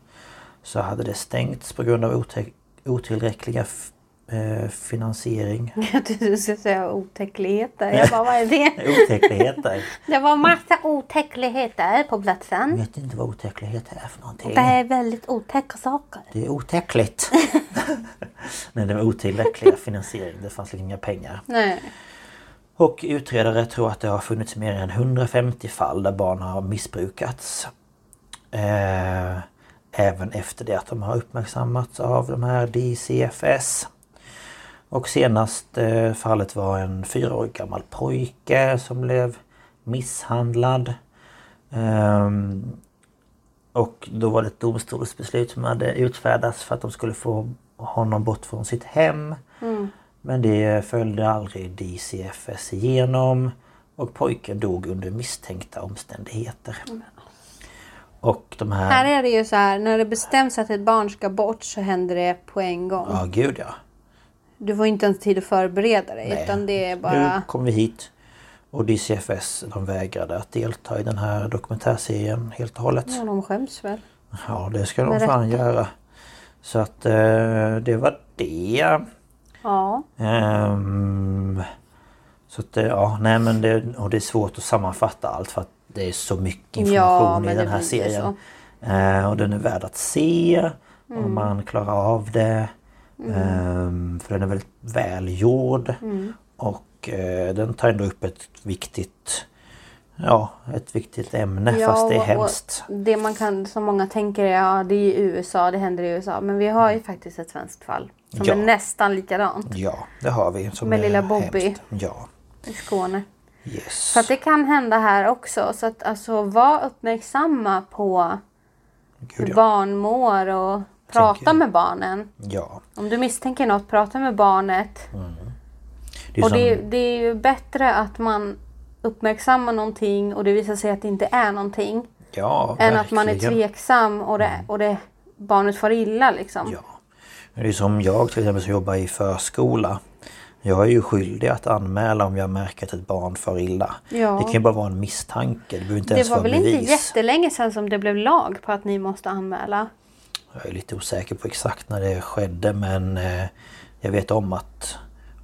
[SPEAKER 2] så hade det stängts på grund av otäck- otillräckliga f- eh, finansiering.
[SPEAKER 3] (laughs) Jag trodde du skulle säga
[SPEAKER 2] (laughs)
[SPEAKER 3] otäckligheter. Jag bara, vad är det?
[SPEAKER 2] Otäckligheter.
[SPEAKER 3] Det var massa otäckligheter på
[SPEAKER 2] Jag
[SPEAKER 3] platsen.
[SPEAKER 2] vet inte vad otäckligheter är för någonting.
[SPEAKER 3] Det är väldigt otäcka saker.
[SPEAKER 2] Det är otäckligt. (laughs) Nej, det var otillräckliga finansiering. Det fanns liksom inga pengar.
[SPEAKER 3] Nej.
[SPEAKER 2] Och utredare tror att det har funnits mer än 150 fall där barn har missbrukats. Eh, även efter det att de har uppmärksammats av de här DCFS. Och senast eh, fallet var en fyra år gammal pojke som blev misshandlad. Ehm, och då var det ett domstolsbeslut som hade utfärdats för att de skulle få honom bort från sitt hem. Men det följde aldrig DCFS igenom och pojken dog under misstänkta omständigheter. Och de här...
[SPEAKER 3] Här är det ju så här, när det bestäms att ett barn ska bort så händer det på en gång.
[SPEAKER 2] Ja, gud ja.
[SPEAKER 3] Du får inte ens tid att förbereda dig
[SPEAKER 2] Nej.
[SPEAKER 3] utan det är
[SPEAKER 2] Nu
[SPEAKER 3] bara...
[SPEAKER 2] kom vi hit och DCFS de vägrade att delta i den här dokumentärserien helt och hållet.
[SPEAKER 3] Ja, de skäms väl.
[SPEAKER 2] Ja, det ska de
[SPEAKER 3] Med
[SPEAKER 2] fan göra. Så att eh, det var det.
[SPEAKER 3] Ja.
[SPEAKER 2] Ehm, så att eh, ja, nej men det, och det är svårt att sammanfatta allt för att det är så mycket
[SPEAKER 3] Ja,
[SPEAKER 2] information
[SPEAKER 3] men
[SPEAKER 2] i
[SPEAKER 3] det
[SPEAKER 2] den här
[SPEAKER 3] blir ju
[SPEAKER 2] serien. Eh, och den är värd att se
[SPEAKER 3] Mm.
[SPEAKER 2] om man klarar av det. Ehm, för den är väldigt välgjord.
[SPEAKER 3] Mm.
[SPEAKER 2] Och eh, den tar ändå upp ett viktigt Ja, ett viktigt ämne
[SPEAKER 3] Ja,
[SPEAKER 2] fast det är
[SPEAKER 3] och- och
[SPEAKER 2] hemskt.
[SPEAKER 3] Det man kan, som många tänker, är, ja det är i USA, det händer i USA. Men vi har ju faktiskt ett svenskt fall som
[SPEAKER 2] Mm. Ja.
[SPEAKER 3] är nästan likadant
[SPEAKER 2] Ja, det har vi. Som
[SPEAKER 3] Med
[SPEAKER 2] är
[SPEAKER 3] lilla Bobby.
[SPEAKER 2] hemskt. Ja,
[SPEAKER 3] i Skåne.
[SPEAKER 2] yes.
[SPEAKER 3] Så att det kan hända här också. Så att alltså var uppmärksamma på
[SPEAKER 2] Gud,
[SPEAKER 3] hur
[SPEAKER 2] ja.
[SPEAKER 3] barn mår och prata
[SPEAKER 2] jag.
[SPEAKER 3] med barnen.
[SPEAKER 2] ja.
[SPEAKER 3] Om du misstänker något, prata med barnet.
[SPEAKER 2] Det är
[SPEAKER 3] Och
[SPEAKER 2] som-
[SPEAKER 3] det, det är ju bättre att man uppmärksammar någonting och det visar sig att det inte är någonting.
[SPEAKER 2] Ja,
[SPEAKER 3] Än att man är
[SPEAKER 2] verkligen. Mm.
[SPEAKER 3] tveksam och, det, och det, barnet far illa liksom.
[SPEAKER 2] Ja. Men Det är som jag till exempel som jobbar i förskola. Jag är ju skyldig att anmäla om jag märker att ett barn far illa.
[SPEAKER 3] Ja.
[SPEAKER 2] Det kan ju bara vara en misstanke. Det behöver inte
[SPEAKER 3] Det
[SPEAKER 2] ens
[SPEAKER 3] var
[SPEAKER 2] vara
[SPEAKER 3] väl
[SPEAKER 2] bevis.
[SPEAKER 3] inte jättelänge sedan som det blev lag på att ni måste anmäla?
[SPEAKER 2] Jag är lite osäker på exakt när det skedde men eh, jag vet om att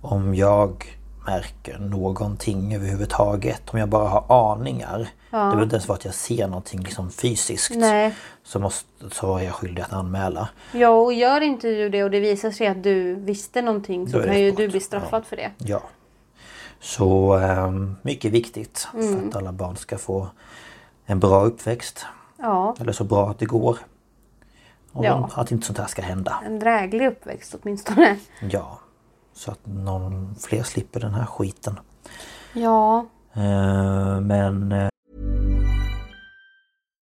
[SPEAKER 2] om jag märker någonting överhuvudtaget, om jag bara har aningar. Det behöver inte ens vara att jag ser någonting liksom fysiskt.
[SPEAKER 3] Nej.
[SPEAKER 2] Så, måste, så är jag skyldig att anmäla.
[SPEAKER 3] Ja, och gör inte du det och det visar sig att du visste någonting
[SPEAKER 2] Då
[SPEAKER 3] så
[SPEAKER 2] är
[SPEAKER 3] kan
[SPEAKER 2] det
[SPEAKER 3] ju
[SPEAKER 2] ett
[SPEAKER 3] du
[SPEAKER 2] brott.
[SPEAKER 3] bli straffad för det.
[SPEAKER 2] Ja. Så ehm, mycket viktigt för att alla barn ska få en bra uppväxt.
[SPEAKER 3] Ja,
[SPEAKER 2] Eller så bra att det går. Och
[SPEAKER 3] Ja.
[SPEAKER 2] att inte sånt här ska hända.
[SPEAKER 3] en dräglig uppväxt åtminstone.
[SPEAKER 2] Ja. Så att någon fler slipper den här skiten.
[SPEAKER 3] Ja,
[SPEAKER 2] Eh, men eh,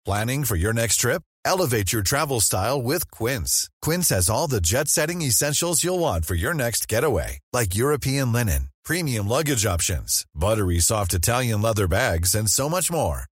[SPEAKER 5] Planning for your next trip? Elevate your travel style with Quince. Quince has all the jet setting essentials you'll want for your next getaway, like European linen, premium luggage options, buttery soft Italian leather bags, and so much more.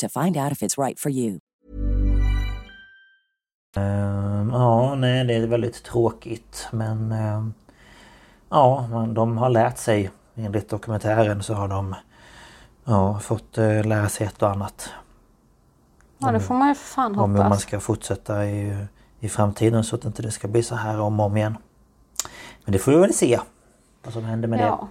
[SPEAKER 6] to find out if it's right for you.
[SPEAKER 2] Ehm, ja, nej, det är väldigt tråkigt men... ehm, ja, man, de har lärt sig. Enligt dokumentären så har de ja, fått eh, lära sig ett och annat.
[SPEAKER 3] Ja, det får man ju för fan
[SPEAKER 2] Om hur Mm. man
[SPEAKER 3] hoppas.
[SPEAKER 2] ska fortsätta i, i framtiden så att inte det ska bli så här om och om igen. Men det får vi väl se. Vad som händer med det.
[SPEAKER 3] Ja,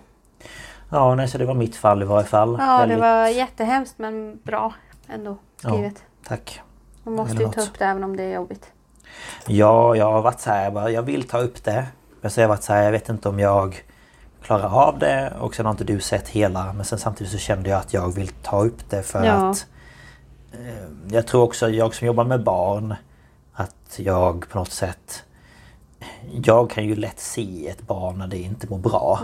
[SPEAKER 2] Ja, nej, så det var mitt fall i varje fall.
[SPEAKER 3] ja det
[SPEAKER 2] Väldigt-
[SPEAKER 3] var jättehemskt men bra ändå skrivet.
[SPEAKER 2] Tack.
[SPEAKER 3] Man måste
[SPEAKER 2] Eller
[SPEAKER 3] ju ta
[SPEAKER 2] något.
[SPEAKER 3] upp det även om det är jobbigt.
[SPEAKER 2] Ja, jag har varit så här, jag, bara, jag vill ta upp det. Men så har jag varit så här, jag vet inte om jag klarar av det och sen har inte du sett hela. Men sen samtidigt så kände jag att jag vill ta upp det för
[SPEAKER 3] Ja.
[SPEAKER 2] att eh, jag tror också, jag som jobbar med barn, att jag på något sätt jag kan ju lätt se ett barn när det inte mår bra.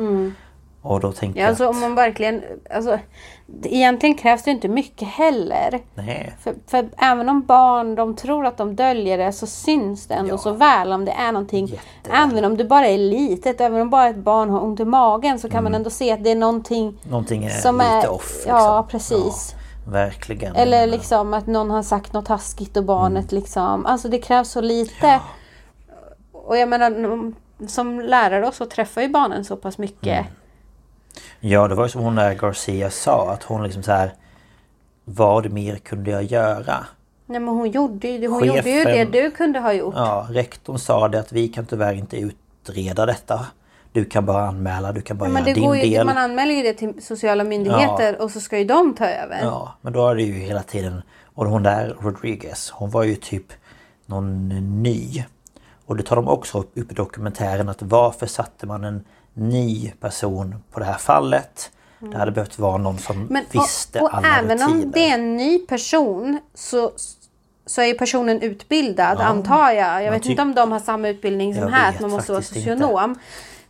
[SPEAKER 2] Och då tänker
[SPEAKER 3] Mm. Ja, alltså
[SPEAKER 2] jag
[SPEAKER 3] om
[SPEAKER 2] att,
[SPEAKER 3] man verkligen... Alltså, det- egentligen krävs det inte mycket heller.
[SPEAKER 2] nej,
[SPEAKER 3] För, för även om barn de tror att de döljer det så syns det ändå
[SPEAKER 2] Ja.
[SPEAKER 3] så väl om det är någonting.
[SPEAKER 2] Jätteväl.
[SPEAKER 3] Även om det bara är litet, även om bara ett barn har ont i magen så kan
[SPEAKER 2] Mm.
[SPEAKER 3] man ändå se att det är någonting
[SPEAKER 2] någonting är
[SPEAKER 3] som
[SPEAKER 2] lite
[SPEAKER 3] är...
[SPEAKER 2] off.
[SPEAKER 3] Ja,
[SPEAKER 2] liksom.
[SPEAKER 3] precis.
[SPEAKER 2] Ja, Mm. verkligen.
[SPEAKER 3] Eller liksom att någon har sagt något taskigt och barnet liksom... Alltså det krävs så lite. Och jag menar, n- som lärare och så träffar ju barnen så pass mycket.
[SPEAKER 2] Mm. Ja, det var ju som hon där Garcia sa att hon liksom så här Vad mer kunde jag göra?
[SPEAKER 3] Nej men hon gjorde ju, hon gjorde ju det
[SPEAKER 2] Chefen-
[SPEAKER 3] du kunde ha gjort.
[SPEAKER 2] Ja, rektorn sa det att vi kan tyvärr inte utreda detta. Du kan bara anmäla, du kan bara
[SPEAKER 3] Ja, men det
[SPEAKER 2] göra din
[SPEAKER 3] går ju,
[SPEAKER 2] del.
[SPEAKER 3] man anmäler ju det till sociala myndigheter och så ska ju de ta över.
[SPEAKER 2] Ja, men då är det ju hela tiden... Och hon där, Rodriguez, hon var ju typ någon ny. Och det tar de också upp, upp i dokumentären att varför satte man en ny person på det här fallet? Det hade behövt vara någon som
[SPEAKER 3] Mm. Men,
[SPEAKER 2] visste
[SPEAKER 3] och och
[SPEAKER 2] alla
[SPEAKER 3] även
[SPEAKER 2] rutiner.
[SPEAKER 3] om det är en ny person så, så är ju personen utbildad antar jag. Jag vet
[SPEAKER 2] ty-
[SPEAKER 3] inte om de har samma utbildning som
[SPEAKER 2] Jag
[SPEAKER 3] här,
[SPEAKER 2] vet
[SPEAKER 3] att man måste vara
[SPEAKER 2] faktiskt inte.
[SPEAKER 3] socionom.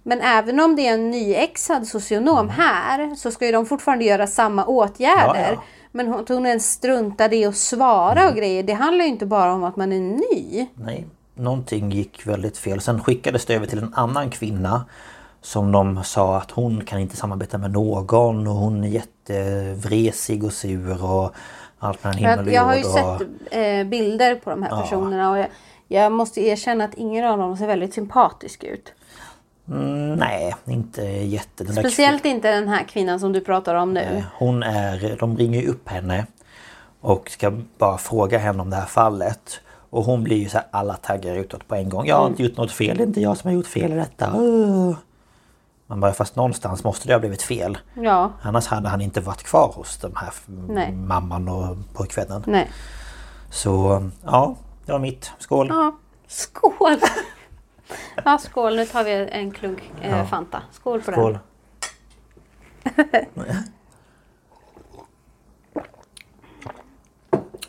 [SPEAKER 3] Men även om det är en nyexad socionom
[SPEAKER 2] Mm.
[SPEAKER 3] här så ska ju de fortfarande göra samma åtgärder.
[SPEAKER 2] Ja, ja. Mm.
[SPEAKER 3] Men hon, att hon ens struntar i att svara och grejer. Det handlar ju inte bara om att man är ny.
[SPEAKER 2] Nej, någonting gick väldigt fel. Sen skickades det över till en annan kvinna som de sa att hon kan inte samarbeta med någon och hon är jättevresig och sur och allt mellan himmel
[SPEAKER 3] Jag,
[SPEAKER 2] och
[SPEAKER 3] jag har ju
[SPEAKER 2] jord och...
[SPEAKER 3] sett eh, bilder på de här personerna och jag, jag måste erkänna att ingen av dem ser väldigt sympatisk ut.
[SPEAKER 2] Mm, nej, inte jätte... Den där
[SPEAKER 3] Speciellt inte den här kvinnan som du pratar om nu.
[SPEAKER 2] kvinnan, Hon är... De ringer ju upp henne och ska bara fråga henne om det här fallet. Och hon blir ju så här alla taggar utåt på en gång. Jag har inte gjort något fel, det är inte jag som har gjort fel i detta. Uh. Man bara, fast någonstans måste det ha blivit fel.
[SPEAKER 3] Ja,
[SPEAKER 2] Annars hade han inte varit kvar hos den här f-
[SPEAKER 3] Nej.
[SPEAKER 2] mamman och pojkvännen.
[SPEAKER 3] nej.
[SPEAKER 2] Så ja, det var mitt. Skål!
[SPEAKER 3] Ja, skål! ja, skål. Nu tar vi en klunk eh, Fanta. Skål på
[SPEAKER 2] Skål!
[SPEAKER 3] den.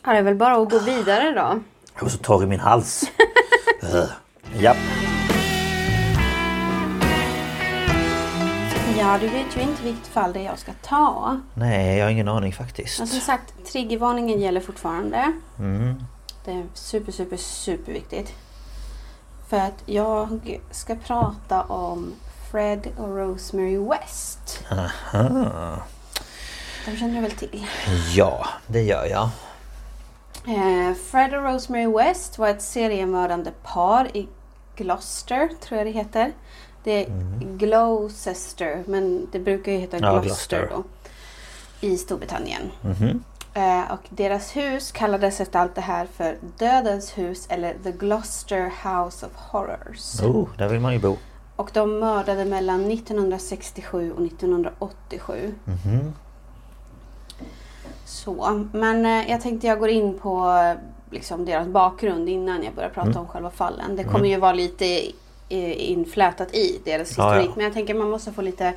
[SPEAKER 3] Ja, det är väl bara att gå vidare då.
[SPEAKER 2] Jag var så torr i min hals.
[SPEAKER 3] (laughs)
[SPEAKER 2] Ugh. Japp.
[SPEAKER 7] Ja, du vet ju inte vilket fall det är jag ska ta.
[SPEAKER 2] Nej, jag har ingen aning faktiskt.
[SPEAKER 3] Alltså.
[SPEAKER 7] Men som sagt, triggervarningen gäller fortfarande.
[SPEAKER 2] Mm.
[SPEAKER 7] Det är super, super, super viktigt. För att jag ska prata om Fred och Rosemary West.
[SPEAKER 2] Aha.
[SPEAKER 7] De känner du väl till?
[SPEAKER 2] Ja, det gör jag.
[SPEAKER 7] Eh, Fred och Rosemary West var ett seriemördande par i Gloucester, tror jag det heter. Det är Gloucester, men det brukar ju heta
[SPEAKER 2] Mm. Ja,
[SPEAKER 7] Gloucester,
[SPEAKER 2] Gloucester. Mhm.
[SPEAKER 7] då. I Storbritannien.
[SPEAKER 3] Eh, och deras hus kallades efter allt det här för Dödens hus eller The Gloucester House of Horrors.
[SPEAKER 8] Oh, där vill man ju bo.
[SPEAKER 3] Och de mördade mellan 1967 och 1987.
[SPEAKER 8] Mhm.
[SPEAKER 3] Så, men eh, jag tänkte jag går in på eh, liksom, deras bakgrund innan jag börjar
[SPEAKER 8] Mm.
[SPEAKER 3] prata om själva fallen. Det kommer ju vara lite eh, inflätat i deras
[SPEAKER 8] Ja, ja.
[SPEAKER 3] historik. Men jag tänker man måste få lite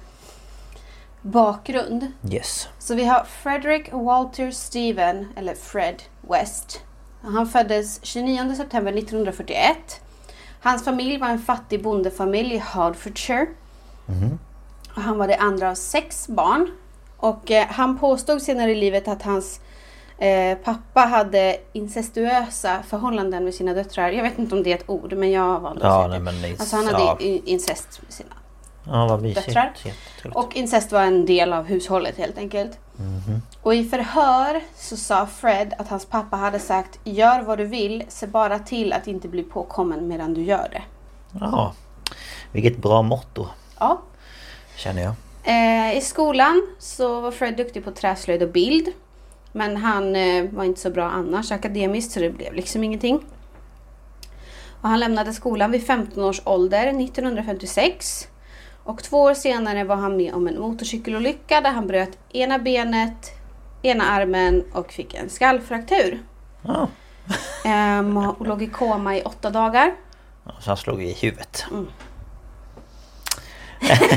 [SPEAKER 3] bakgrund.
[SPEAKER 8] Yes.
[SPEAKER 3] Så vi har Frederick Walter Steven, eller Fred West. Han föddes 29 september 1941. Hans familj var en fattig bondefamilj i Hertfordshire.
[SPEAKER 8] Mhm.
[SPEAKER 3] Och han var det andra av sex barn. Och eh, han påstod senare i livet att hans eh, pappa hade incestuösa förhållanden med sina döttrar. Jag vet inte om det är ett ord, men jag valde att
[SPEAKER 8] Ja,
[SPEAKER 3] säga
[SPEAKER 8] nej, men det-
[SPEAKER 3] det. Alltså han hade
[SPEAKER 8] ja.
[SPEAKER 3] i- incest med sina
[SPEAKER 8] Ja, vad mysigt.
[SPEAKER 3] döttrar.
[SPEAKER 8] Jättetrevligt.
[SPEAKER 3] Och incest var en del av hushållet helt enkelt. Och i förhör så sa Fred att hans pappa hade sagt Gör vad du vill, se bara till att inte bli påkommen medan du gör det.
[SPEAKER 8] Ja. Vilket bra motto,
[SPEAKER 3] Ja.
[SPEAKER 8] känner jag.
[SPEAKER 3] Eh, I skolan så var Fred duktig på träslöjd och bild. Men han eh, var inte så bra annars akademiskt så det blev liksom ingenting. Och han lämnade skolan vid 15 års ålder 1956. Och två år senare var han med om en motorcykelolycka där han bröt ena benet, ena armen och fick en skallfraktur.
[SPEAKER 8] Ja.
[SPEAKER 3] Ehm, och låg i koma i åtta dagar.
[SPEAKER 8] Så han slog i huvudet.
[SPEAKER 3] Mm.
[SPEAKER 2] (laughs)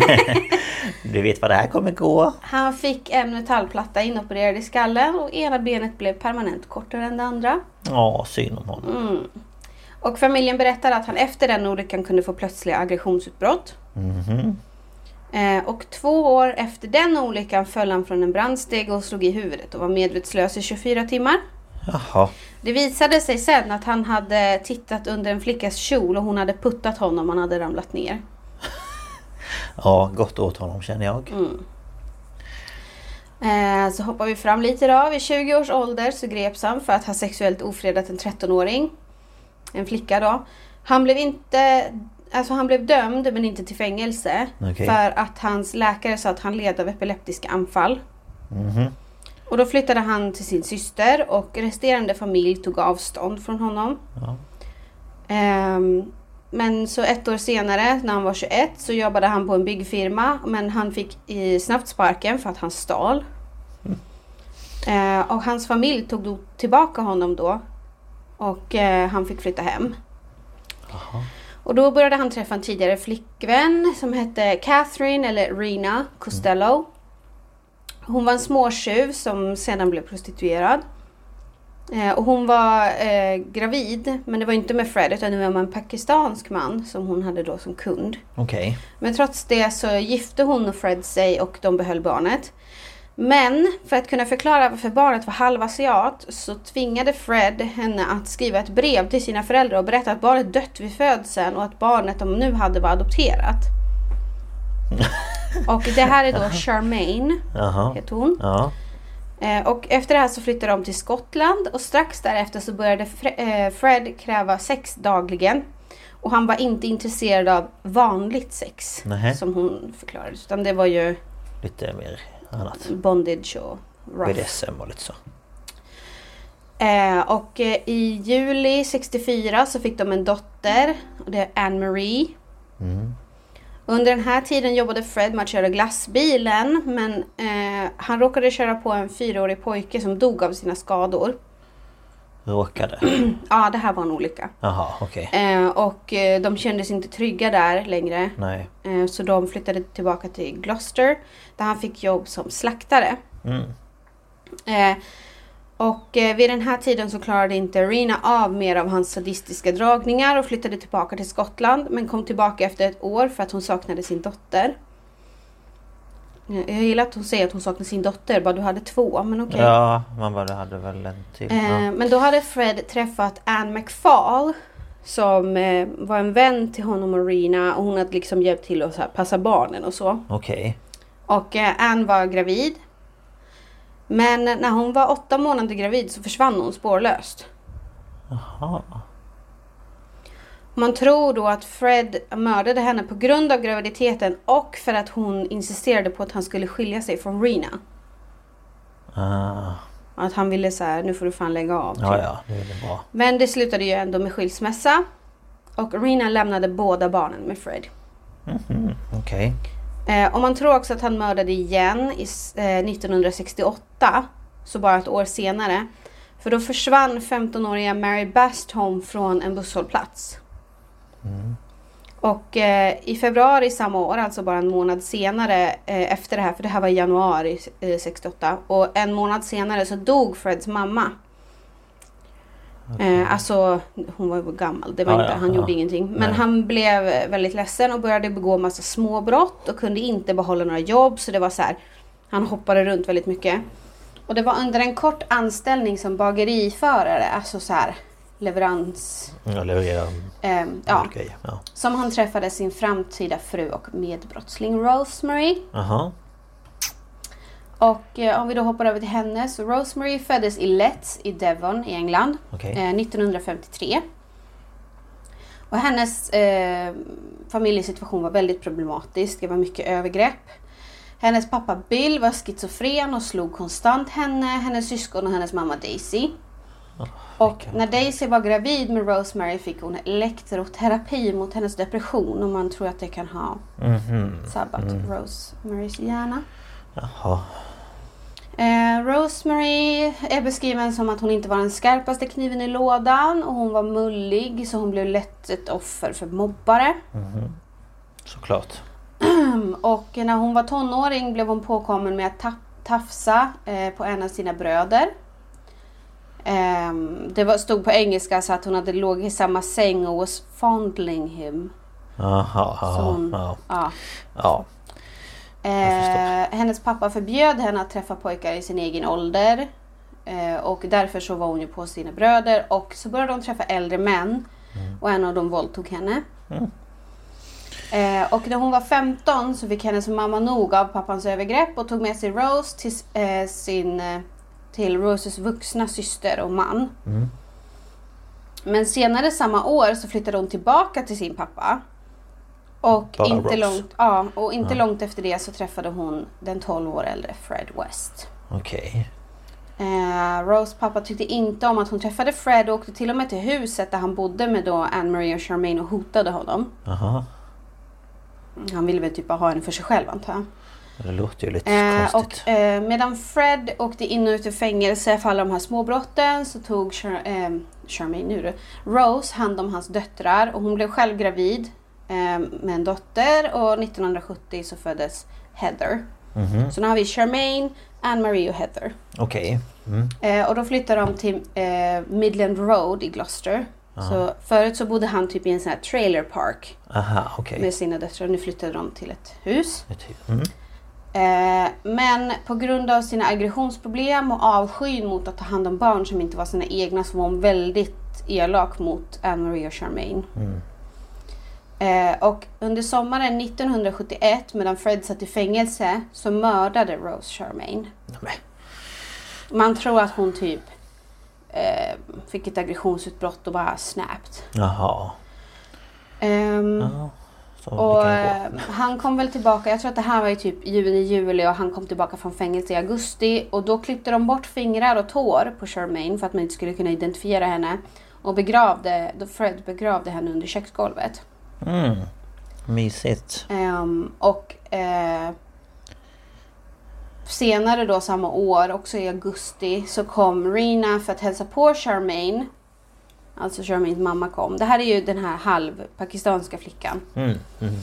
[SPEAKER 8] du vet vad det här kommer gå.
[SPEAKER 3] Han fick en metallplatta inopererad i skallen och ena benet blev permanent kortare än det andra.
[SPEAKER 8] Ja, synd om honom.
[SPEAKER 3] Och familjen berättade att han efter den olyckan kunde få plötsliga aggressionsutbrott.
[SPEAKER 8] Mhm.
[SPEAKER 3] Eh, och två år efter den olyckan föll han från en brandsteg och slog i huvudet och var medvetslös i 24 timmar.
[SPEAKER 8] Jaha.
[SPEAKER 3] Det visade sig sen att han hade tittat under en flickas kjol och hon hade puttat honom och han hade ramlat ner.
[SPEAKER 8] Ja, gott åt honom känner jag.
[SPEAKER 3] Mm. Eh, så hoppar vi fram lite då. Vid 20 års ålder så greps han för att ha sexuellt ofredat en 13-åring. En flicka då. Han blev inte... Alltså han blev dömd men inte till fängelse.
[SPEAKER 8] Okej.
[SPEAKER 3] För att hans läkare sa att han led av epileptiska anfall.
[SPEAKER 8] Mhm.
[SPEAKER 3] Och då flyttade han till sin syster och resterande familj tog avstånd från honom.
[SPEAKER 8] Ja.
[SPEAKER 3] Ehm, men så ett år senare, när han var 21, så jobbade han på en byggfirma. Men han fick i snabbt sparken för att han stal. Eh, och hans familj tog då tillbaka honom då. Och eh, han fick flytta hem. Och då började han träffa en tidigare flickvän som hette Catherine eller Rena Costello. Hon var en småtjuv som sedan blev prostituerad. Eh, och hon var eh, gravid, men det var inte med Fred utan det var med en pakistansk man som hon hade då som kund.
[SPEAKER 8] Okej.
[SPEAKER 3] Men trots det så gifte hon och Fred sig och de behöll barnet. Men för att kunna förklara varför barnet var halvasiat så tvingade Fred henne att skriva ett brev till sina föräldrar och berätta att barnet dött vid födseln och att barnet de nu hade var adopterat. och det här är då Charmaine,
[SPEAKER 8] Jaha.
[SPEAKER 3] heter hon.
[SPEAKER 8] Ja.
[SPEAKER 3] Eh, Och efter det här så flyttade de till Skottland och strax därefter så började Fre- eh, Fred kräva sex dagligen. Och han var inte intresserad av vanligt sex
[SPEAKER 8] Nähä.
[SPEAKER 3] som hon förklarade. Utan det var ju
[SPEAKER 8] Lite mer annat.
[SPEAKER 3] bondage och rough.
[SPEAKER 8] BDSM och lite så.
[SPEAKER 3] Eh, och eh, i juli 64 så fick de en dotter. Och det är Anne Marie. Under den här tiden jobbade Fred med att köra glassbilen. Men eh, han råkade köra på en fyraårig pojke som dog av sina skador.
[SPEAKER 8] Råkade.
[SPEAKER 3] Ja, det här var en olycka.
[SPEAKER 8] Jaha, okej.
[SPEAKER 3] Eh, och eh, de kändes inte trygga där längre.
[SPEAKER 8] Nej.
[SPEAKER 3] Eh, så de flyttade tillbaka till Gloucester där han fick jobb som slaktare. Eh, och eh, vid den här tiden så klarade inte Rena av mer av hans sadistiska dragningar och flyttade tillbaka till Skottland men kom tillbaka efter ett år för att hon saknade sin dotter. Eh, Jag gillar att hon säger att hon saknar sin dotter, bara du hade två, men okej.
[SPEAKER 8] Ja, man bara hade väl en till.
[SPEAKER 3] Eh,
[SPEAKER 8] Ja.
[SPEAKER 3] Men då hade Fred träffat Anne McFall som eh, var en vän till honom och Rena och hon hade liksom hjälpt till att så här, passa barnen och så.
[SPEAKER 8] Okej.
[SPEAKER 3] Och eh, Anne var gravid. Men när hon var åtta månader gravid så försvann hon spårlöst.
[SPEAKER 8] Jaha.
[SPEAKER 3] Man tror då att Fred mördade henne på grund av graviditeten och för att hon insisterade på att han skulle skilja sig från Rena.
[SPEAKER 8] Ah.
[SPEAKER 3] Ja. Att han ville så här, nu får du fan lägga av.
[SPEAKER 8] Ja,
[SPEAKER 3] typ.
[SPEAKER 8] ja, nu är det bra.
[SPEAKER 3] Men det slutade ju ändå med skilsmässa. Och Rena lämnade båda barnen med Fred.
[SPEAKER 8] Okej.
[SPEAKER 3] Eh, och man tror också att han mördade igen i, s- eh, 1968. Så bara ett år senare. För då försvann 15-åriga Mary Bastholm från en busshållplats. Och eh, i februari samma år, alltså bara en månad senare eh, efter det här, för det här var i januari eh, 68. Och en månad senare så dog Freds mamma. Eh, alltså hon var ju gammal, det var
[SPEAKER 8] Ja,
[SPEAKER 3] inte,
[SPEAKER 8] ja,
[SPEAKER 3] han
[SPEAKER 8] ja.
[SPEAKER 3] gjorde ingenting. Men
[SPEAKER 8] Nej.
[SPEAKER 3] han blev väldigt ledsen och började begå massa småbrott och kunde inte behålla några jobb. Så det var så här, han hoppade runt väldigt mycket. Och det var under en kort anställning som bageriförare, alltså så här leverans,
[SPEAKER 8] Jag levererar
[SPEAKER 3] eh, ja,
[SPEAKER 8] grejer. Ja.
[SPEAKER 3] som han träffade sin framtida fru och medbrottsling Rosemary.
[SPEAKER 8] Jaha.
[SPEAKER 3] Och eh, om vi då hoppar över till henne så Rosemary föddes i Letts i Devon i England
[SPEAKER 8] Okej.
[SPEAKER 3] eh, 1953. Och hennes eh, familjesituation var väldigt problematisk. Det var mycket övergrepp. Hennes pappa Bill var schizofren och slog konstant henne, hennes syskon och hennes mamma Daisy. Och när Daisy var gravid med Rosemary fick hon elektroterapi mot hennes depression och man tror att det kan ha sabbat Rosemarys hjärna.
[SPEAKER 8] Jaha.
[SPEAKER 3] Eh, Rosemary är beskriven som att hon inte var den skarpaste kniven i lådan och hon var mullig så hon blev lätt ett offer för mobbare.
[SPEAKER 8] Såklart.
[SPEAKER 3] Och när hon var tonåring blev hon påkommen med att tap- tafsa eh, på en av sina bröder. Ehm, det var, stod på engelska så att hon hade låg i samma säng och was fondling him.
[SPEAKER 8] Jaha.
[SPEAKER 3] Så
[SPEAKER 8] Ja.
[SPEAKER 3] hon-
[SPEAKER 8] Ja.
[SPEAKER 3] Ja.
[SPEAKER 8] ja.
[SPEAKER 3] Eh, hennes pappa förbjöd henne att träffa pojkar i sin egen ålder. Eh, och därför så var hon ju på sina bröder och så började hon träffa äldre män. Och en av dem våldtog henne. Eh, och när hon var 15 så fick hennes mamma nog av pappans övergrepp och tog med sig Rose till, s- eh, sin, eh, till Roses vuxna syster och man. Men senare samma år så flyttade hon tillbaka till sin pappa. Och
[SPEAKER 8] Bara
[SPEAKER 3] inte,
[SPEAKER 8] Rose.
[SPEAKER 3] långt, ja, och inte långt efter det så träffade hon den 12 år äldre Fred West.
[SPEAKER 8] Okej.
[SPEAKER 3] Eh, Rose pappa tyckte inte om att hon träffade Fred och åkte till och med till huset där han bodde med då Anne-Marie och Charmaine och hotade honom.
[SPEAKER 8] Jaha.
[SPEAKER 3] Han ville väl typ bara ha henne för sig själv antar jag.
[SPEAKER 8] Det låter ju lite
[SPEAKER 3] Eh,
[SPEAKER 8] konstigt.
[SPEAKER 3] och, eh, medan Fred åkte in och ut ur fängelse för alla de här småbrotten så tog Char- eh, Charmaine nu då, Rose hand om hans döttrar och hon blev själv gravid eh, med en dotter och 1970 så föddes Heather. Så nu har vi Charmaine, Anne-Marie och Heather.
[SPEAKER 8] Okej. Mm.
[SPEAKER 3] Eh, och då flyttade de till eh, Midland Road i Gloucester. Så förut så bodde han typ i en sån här trailer park
[SPEAKER 8] Aha, okej.
[SPEAKER 3] med sina döttrar. Nu flyttade de till ett hus.
[SPEAKER 8] Ett hy- Mm.
[SPEAKER 3] Eh, men på grund av sina aggressionsproblem och avskyn mot att ta hand om barn som inte var sina egna så var hon väldigt elak mot Anne-Marie och Charmaine. Eh, och under sommaren 1971 medan Fred satt i fängelse så mördade Rose Charmaine.
[SPEAKER 8] Nej,
[SPEAKER 3] Man tror att hon typ eh, fick ett aggressionsutbrott och bara snapped.
[SPEAKER 8] men- Jaha.
[SPEAKER 3] Ehm,
[SPEAKER 8] Ja. Så
[SPEAKER 3] och
[SPEAKER 8] det kan gå.
[SPEAKER 3] eh, han kom väl tillbaka, jag tror att det här var ju typ juni, juli och han kom tillbaka från fängelse i augusti. Och då klippte de bort fingrar och tår på Charmaine för att man inte skulle kunna identifiera henne. Och begravde, då Fred begravde henne under köksgolvet.
[SPEAKER 8] Mm. Mysigt.
[SPEAKER 3] Ehm, och eh, senare då samma år, också i augusti, så kom Rina för att hälsa på Charmaine. Alltså Charmaines mamma kom. Det här är ju den här halvpakistanska flickan.
[SPEAKER 8] Mm. Mm.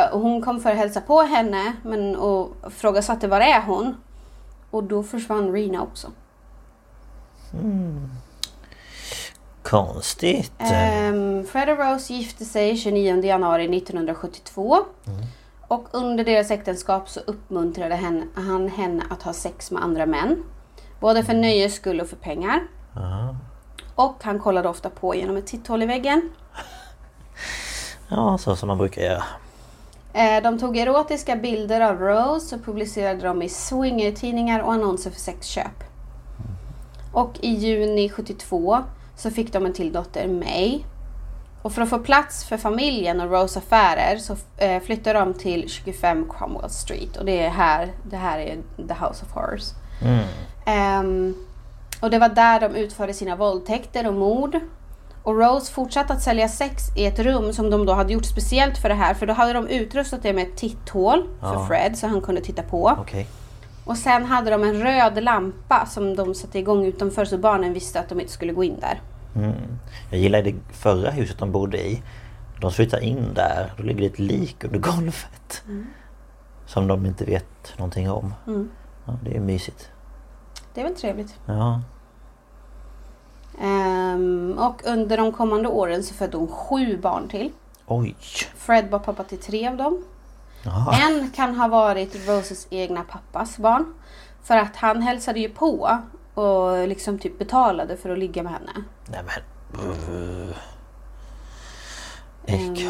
[SPEAKER 3] Eh, och hon kom för att hälsa på henne men, och frågade satte var är hon? Och då försvann Rina också.
[SPEAKER 8] Konstigt.
[SPEAKER 3] Um, Fred och Rose gifte sig 29 januari 1972. Och under deras äktenskap så uppmuntrade hen, han henne att ha sex med andra män. Både för nöjes skull och för pengar. Och han kollade ofta på genom ett titthål i väggen.
[SPEAKER 8] Ja, så som man brukar göra.
[SPEAKER 3] Eh, De tog erotiska bilder av Rose och publicerade dem i swingertidningar och annonser för sexköp. Och i juni 72 så fick de en till dotter, May. Och för att få plats för familjen och Rose affärer så eh, flyttade de till 25 Cromwell Street. Och det är här, det här är The House of Horrors. Ehm, Och det var där de utförde sina våldtäkter och mord. Och Rose fortsatte att sälja sex i ett rum som de då hade gjort speciellt för det här. För då hade de utrustat det med ett titthål för
[SPEAKER 8] Ja.
[SPEAKER 3] Fred så han kunde titta på.
[SPEAKER 8] Okej.
[SPEAKER 3] Och sen hade de en röd lampa som de satte igång utanför så barnen visste att de inte skulle gå in där.
[SPEAKER 8] Mm. Jag gillar det förra huset de bodde i. De flyttar in där. Då ligger det ett lik under golvet.
[SPEAKER 3] Mm.
[SPEAKER 8] Som de inte vet någonting om. Ja, det är mysigt.
[SPEAKER 3] Det är väl trevligt.
[SPEAKER 8] Ja.
[SPEAKER 3] Ehm, och under de kommande åren så födde hon sju barn till.
[SPEAKER 8] Oj!
[SPEAKER 3] Fred var pappa till tre av dem.
[SPEAKER 8] Jaha.
[SPEAKER 3] En kan ha varit Roses egna pappas barn. För att han hälsade ju på och liksom typ betalade för att ligga med henne.
[SPEAKER 8] Nej men...
[SPEAKER 3] Eh.
[SPEAKER 8] Äck.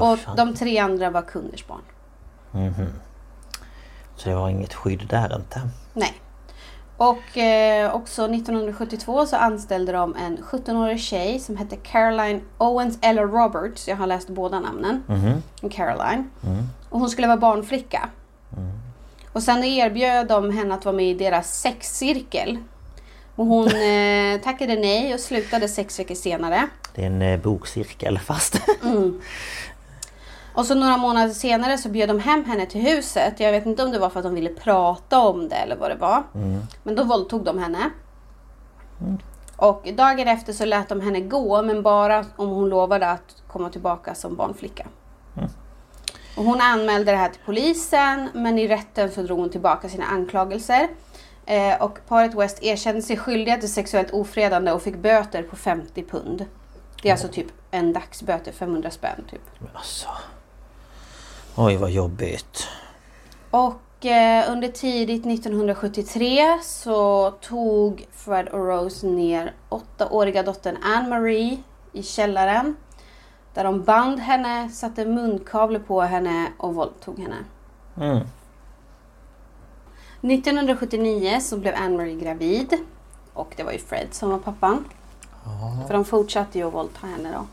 [SPEAKER 3] Och de tre andra var kungers barn.
[SPEAKER 8] Så det var inget skydd där inte.
[SPEAKER 3] Nej. Och eh, också 1972 så anställde de en 17-årig tjej som hette Caroline Owens eller Roberts. Jag har läst båda namnen. Caroline. Och hon skulle vara barnflicka. Och sen erbjöd de henne att vara med i deras sexcirkel. Och hon eh, tackade nej och slutade sex veckor senare.
[SPEAKER 8] Det är en eh, bokcirkel fast. (laughs)
[SPEAKER 3] Och så några månader senare så bjöd de hem henne till huset. Jag vet inte om det var för att de ville prata om det eller vad det var. Men då våldtog de henne. Och dagen efter så lät de henne gå men bara om hon lovade att komma tillbaka som barnflicka. Och hon anmälde det här till polisen men i rätten så drog hon tillbaka sina anklagelser. Eh, och paret West erkände sig skyldiga till sexuellt ofredande och fick böter på 50 pund. Det är alltså typ en dagsböter, 500 spänn typ.
[SPEAKER 8] Men alltså. Oj vad jobbigt.
[SPEAKER 3] Och eh, under tidigt 1973 så tog Fred och Rose ner åttaåriga dottern Anne Marie i källaren. Där de band henne, satte munkavle på henne och våldtog henne. 1979 så blev Anne Marie gravid. Och det var ju Fred som var pappan. För de fortsatte ju att våldta henne då.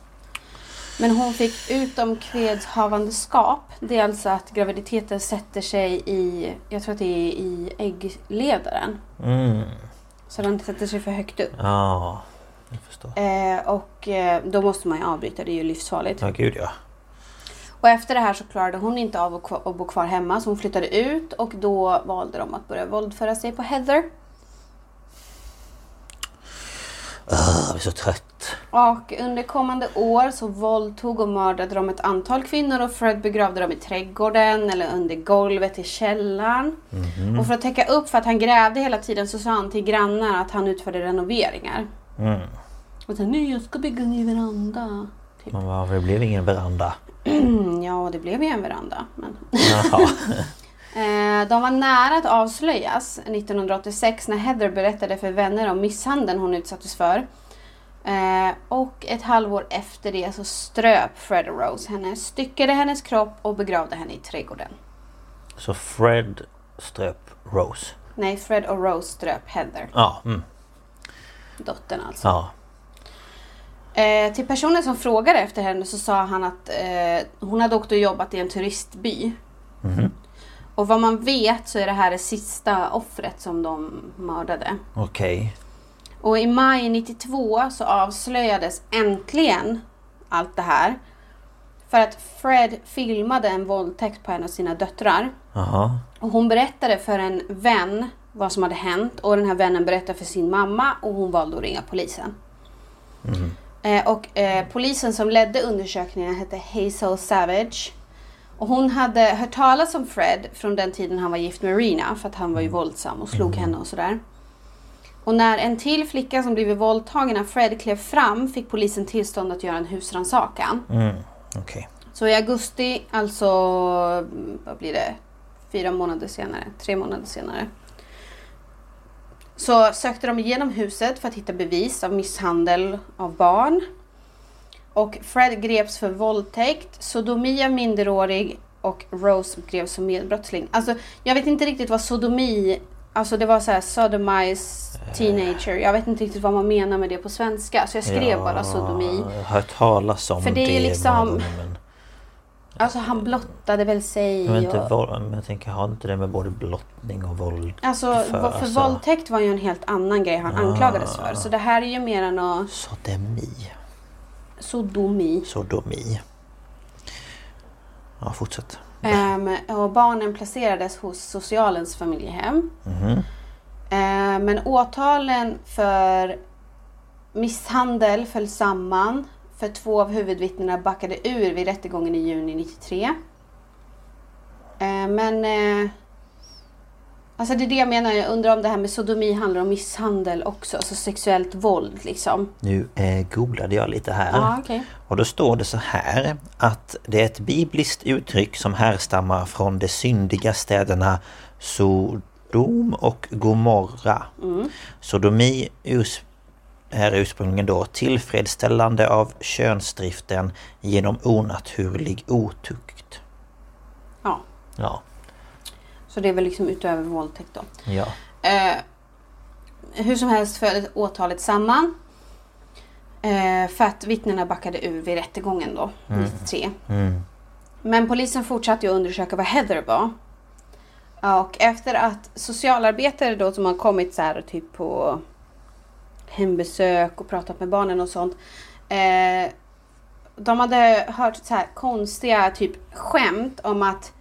[SPEAKER 3] Men hon fick utomkvedshavandeskap. Det är alltså att graviditeten sätter sig i, jag tror att det är i äggledaren.
[SPEAKER 8] Mm.
[SPEAKER 3] Så den sätter sig för högt upp.
[SPEAKER 8] Ja. Jag förstår.
[SPEAKER 3] Eh, och eh, då måste man ju avbryta, det är ju livsfarligt.
[SPEAKER 8] Ja gud ja.
[SPEAKER 3] Och efter det här så klarade hon inte av att, kva- att bo kvar hemma så hon flyttade ut och då valde de att börja våldföra sig på Heather.
[SPEAKER 8] Ah, Jag är så trött.
[SPEAKER 3] Och under kommande år så våldtog och mördade de ett antal kvinnor och Fred begravde dem i trädgården eller under golvet i källaren. Och för att täcka upp för att han grävde hela tiden så sa han till grannar att han utförde renoveringar.
[SPEAKER 8] Mm.
[SPEAKER 3] Och sen, nej jag ska bygga en ny veranda. Typ.
[SPEAKER 8] Men varför det blev ingen veranda? (laughs)
[SPEAKER 3] Mm, (clears throat) ja, det blev ju en veranda. Men...
[SPEAKER 8] Jaha.
[SPEAKER 3] Eh, De var nära att avslöjas 1986 när Heather berättade för vänner om misshandeln hon utsattes för. Eh, Och ett halvår efter det så ströp Fred och Rose henne, styckade hennes kropp och begravde henne i trädgården.
[SPEAKER 8] Så Fred ströp Rose.
[SPEAKER 3] Nej, Fred och Rose ströp Heather,
[SPEAKER 8] Ja. Mm.
[SPEAKER 3] dottern alltså.
[SPEAKER 8] Ja.
[SPEAKER 3] Eh, till personen som frågade efter henne så sa han att eh, hon hade åkt och jobbat i en turistby. Och vad man vet så är det här det sista offret som de mördade.
[SPEAKER 8] Okej.
[SPEAKER 3] Och i maj 92 så avslöjades äntligen allt det här. För att Fred filmade en våldtäkt på en av sina döttrar.
[SPEAKER 8] Jaha.
[SPEAKER 3] Och hon berättade för en vän vad som hade hänt. Och den här vännen berättade för sin mamma och hon valde att ringa polisen. Eh, och eh, polisen som ledde undersökningen hette Hazel Savage. Och hon hade hört talas om Fred från den tiden han var gift med Rina. För att han var ju våldsam och slog henne och sådär. Och när en till flicka som blivit våldtagen av Fred klev fram fick polisen tillstånd att göra en husrannsakan.
[SPEAKER 8] Mm. Okej.
[SPEAKER 3] Så i augusti, alltså mm, vad blir det? Fyra månader senare, tre månader senare. Så sökte de igenom huset för att hitta bevis av misshandel av barn. Och Fred greps för våldtäkt, sodomi av minderårig och Rose greps som medbrottsling. Alltså jag vet inte riktigt vad sodomi, alltså det var så här sodomize teenager. Jag vet inte riktigt vad man menar med det på svenska. Så jag skrev bara sodomi.
[SPEAKER 8] Jag har hört talas om
[SPEAKER 3] För det är ju
[SPEAKER 8] i
[SPEAKER 3] liksom-
[SPEAKER 8] morgonen, men
[SPEAKER 3] Alltså han blottade väl sig.
[SPEAKER 8] Men
[SPEAKER 2] typ
[SPEAKER 8] inte
[SPEAKER 3] och-
[SPEAKER 8] våld, men jag tänker, har inte det med både blottning och våld?
[SPEAKER 3] Alltså,
[SPEAKER 8] För,
[SPEAKER 3] för,
[SPEAKER 8] alltså-
[SPEAKER 3] våldtäkt var ju en helt annan grej han anklagades för. Så det här är ju mer än att
[SPEAKER 8] Sodomi.
[SPEAKER 3] sodomi.
[SPEAKER 8] Sodomi. Ja, fortsätt.
[SPEAKER 3] Ehm, och barnen placerades hos socialens familjehem. Ehm, men åtalen för misshandel föll samman för två av huvudvittnena backade ur vid rättegången i juni 93. Ehm, men eh, alltså det är det jag menar, jag undrar om det här med sodomi handlar om misshandel också, alltså sexuellt våld liksom.
[SPEAKER 8] Nu eh, googlade jag lite här.
[SPEAKER 3] Ja, okej.
[SPEAKER 8] Och då står det så här att det är ett bibliskt uttryck som härstammar från de syndiga städerna Sodom och Gomorra.
[SPEAKER 3] Mm.
[SPEAKER 8] Sodomi urs- är ursprungligen då tillfredsställande av könsdriften genom onaturlig otukt.
[SPEAKER 3] Ja,
[SPEAKER 8] Ja,
[SPEAKER 3] så det är väl liksom utöver våldtäkt då.
[SPEAKER 8] ja.
[SPEAKER 3] Eh, hur som helst föll åtalet samman. Eh, för att vittnena backade ur vid rättegången då, 93. Men polisen fortsatte ju att undersöka vad Heather var. Ja, Och efter att socialarbetare då som har kommit så här och typ på hembesök och pratat med barnen och sånt. Eh, de hade hört så här konstiga typ skämt om att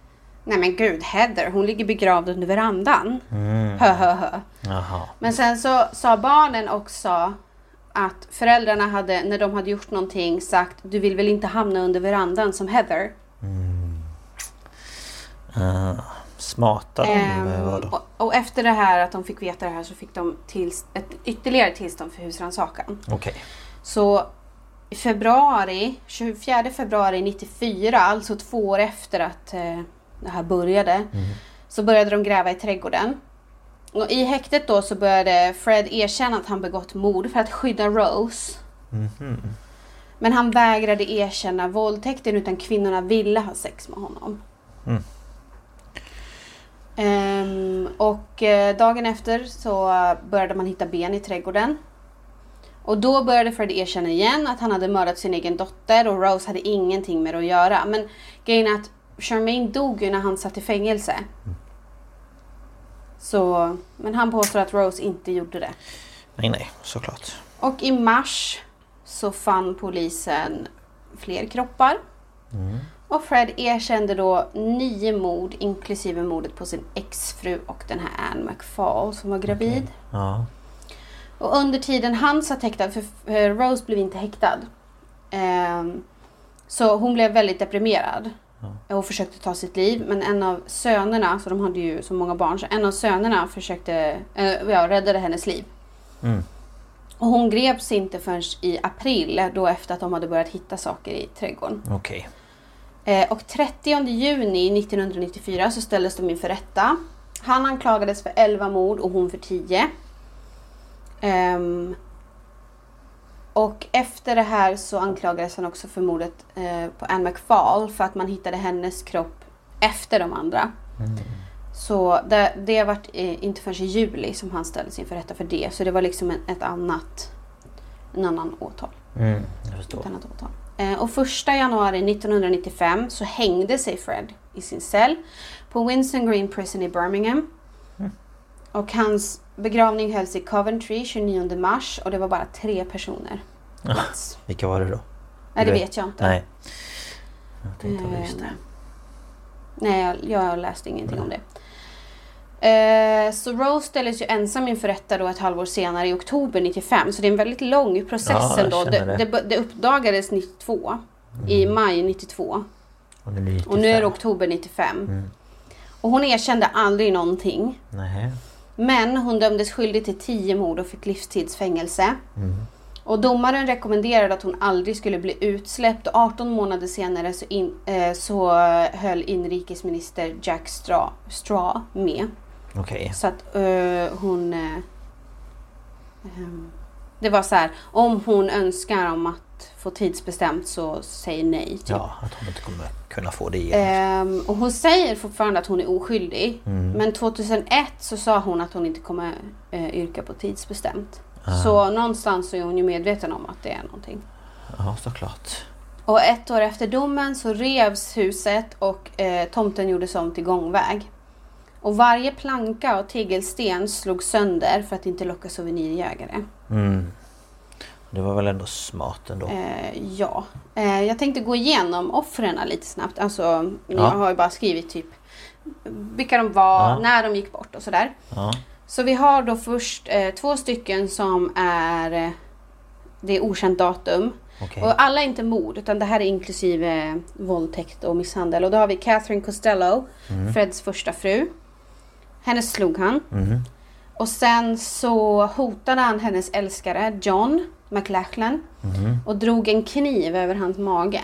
[SPEAKER 3] Nej men gud Heather hon ligger begravd under verandan. Hö, hö, hö.
[SPEAKER 8] Jaha.
[SPEAKER 3] Men sen så sa barnen också att föräldrarna hade, när de hade gjort någonting, sagt du vill väl inte hamna under verandan som Heather?
[SPEAKER 8] Uh, smarta de
[SPEAKER 3] Ehm,
[SPEAKER 8] eh, var då.
[SPEAKER 3] och, och efter det här, att de fick veta det här, så fick de tills, ett ytterligare tillstånd för husrannsakan.
[SPEAKER 8] Okej.
[SPEAKER 3] Så i februari, 24 februari 94, alltså två år efter att eh, det här började, så började de gräva i trädgården. Och I häktet då så började Fred erkänna att han begått mord för att skydda Rose. Men han vägrade erkänna våldtäkten utan kvinnorna ville ha sex med honom. Ehm, och eh, dagen efter så började man hitta ben i trädgården. Och då började Fred erkänna igen att han hade mördat sin egen dotter och Rose hade ingenting med det att göra. Men grejen är att Charmaine dog ju när han satt i fängelse. Så, men han påstår att Rose inte gjorde det.
[SPEAKER 8] Nej, nej, såklart.
[SPEAKER 3] Och i mars så fann polisen fler kroppar. Och Fred erkände då nio mord inklusive mordet på sin exfru och den här Anne McFall som var gravid.
[SPEAKER 8] Ja.
[SPEAKER 3] Och under tiden han satt häktad, för för Rose blev inte häktad. Ehm, så hon blev väldigt deprimerad. Och försökte ta sitt liv. Men en av sönerna, så de hade ju så många barn, så en av sönerna försökte, eh, ja, räddade hennes liv. Och hon greps inte förrän i april, då efter att de hade börjat hitta saker i trädgården.
[SPEAKER 8] Okej.
[SPEAKER 3] Eh, Och 30 juni 1994 så ställdes de inför rätta. Han anklagades för 11 mord och hon för 10. Ehm, och efter det här så anklagades han också för mordet eh, på Anne McFall för att man hittade hennes kropp efter de andra. Så det, det var eh, inte förrän i juli som han ställdes inför rätta för det. Så det var liksom en, ett annat, en annan åtal.
[SPEAKER 8] Mm, jag förstår.
[SPEAKER 3] Ett annat åtal. Eh, Och första januari 1995 så hängde sig Fred i sin cell på Winston Green Prison i Birmingham.
[SPEAKER 8] Mm.
[SPEAKER 3] Och hans begravning hölls i Coventry 29 mars och det var bara tre personer. plats.
[SPEAKER 8] Vilka var Ah, det då?
[SPEAKER 3] Nej, det
[SPEAKER 8] Du
[SPEAKER 3] vet jag inte.
[SPEAKER 8] Nej. Jag tänkte att jag visste.
[SPEAKER 3] Eh, Nej, jag, jag läste ingenting om det. Eh, så Rose ställdes ju ensam inför rätta då ett halvår senare i oktober 95. Så det är en väldigt lång process
[SPEAKER 8] Ja, jag
[SPEAKER 3] ändå.
[SPEAKER 8] känner
[SPEAKER 3] Det,
[SPEAKER 8] det.
[SPEAKER 3] det, bör- det uppdagades 92. Mm. I maj 92.
[SPEAKER 8] Mm. Och nu är Mm. det 95.
[SPEAKER 3] Och nu är det oktober 95. Och hon erkände aldrig någonting.
[SPEAKER 8] Nej.
[SPEAKER 3] Men hon dömdes skyldig till 10 mord och fick livstidsfängelse. Och domaren rekommenderade att hon aldrig skulle bli utsläppt och 18 månader senare så, in, eh, så höll inrikesminister Jack Straw, Straw med.
[SPEAKER 8] Okej.
[SPEAKER 3] Så att eh, hon... Eh, ehm, det var så här, om hon önskar om att få tidsbestämt så säg nej. Typ.
[SPEAKER 8] Ja, att hon inte kommer kunna få det igen.
[SPEAKER 3] Ehm, och hon säger fortfarande att hon är oskyldig. Men 2001 så sa hon att hon inte kommer eh, yrka på tidsbestämt. Så någonstans så är hon ju medveten om att det är någonting.
[SPEAKER 8] Ja, såklart.
[SPEAKER 3] Och ett år efter domen så revs huset och eh, tomten gjordes om till gångväg. Och varje planka och tegelsten slogs sönder för att inte locka souvenirjägare.
[SPEAKER 8] Mm. Det var väl ändå smart ändå.
[SPEAKER 3] Eh, ja, eh, jag tänkte gå igenom offren lite snabbt. Alltså, jag
[SPEAKER 8] Ja.
[SPEAKER 3] har ju bara skrivit typ vilka de var,
[SPEAKER 8] Ja.
[SPEAKER 3] när de gick bort och sådär.
[SPEAKER 8] Ja.
[SPEAKER 3] Så vi har då först eh, två stycken som är eh, det är okänt datum.
[SPEAKER 8] Okej.
[SPEAKER 3] Och alla är inte mord, utan det här är inklusive eh, våldtäkt och misshandel. Och då har vi Catherine Costello, Freds första fru. Henne slog han.
[SPEAKER 8] Mm.
[SPEAKER 3] Och sen så hotade han hennes älskare John McLachlan
[SPEAKER 8] Mm.
[SPEAKER 3] och drog en kniv över hans mage.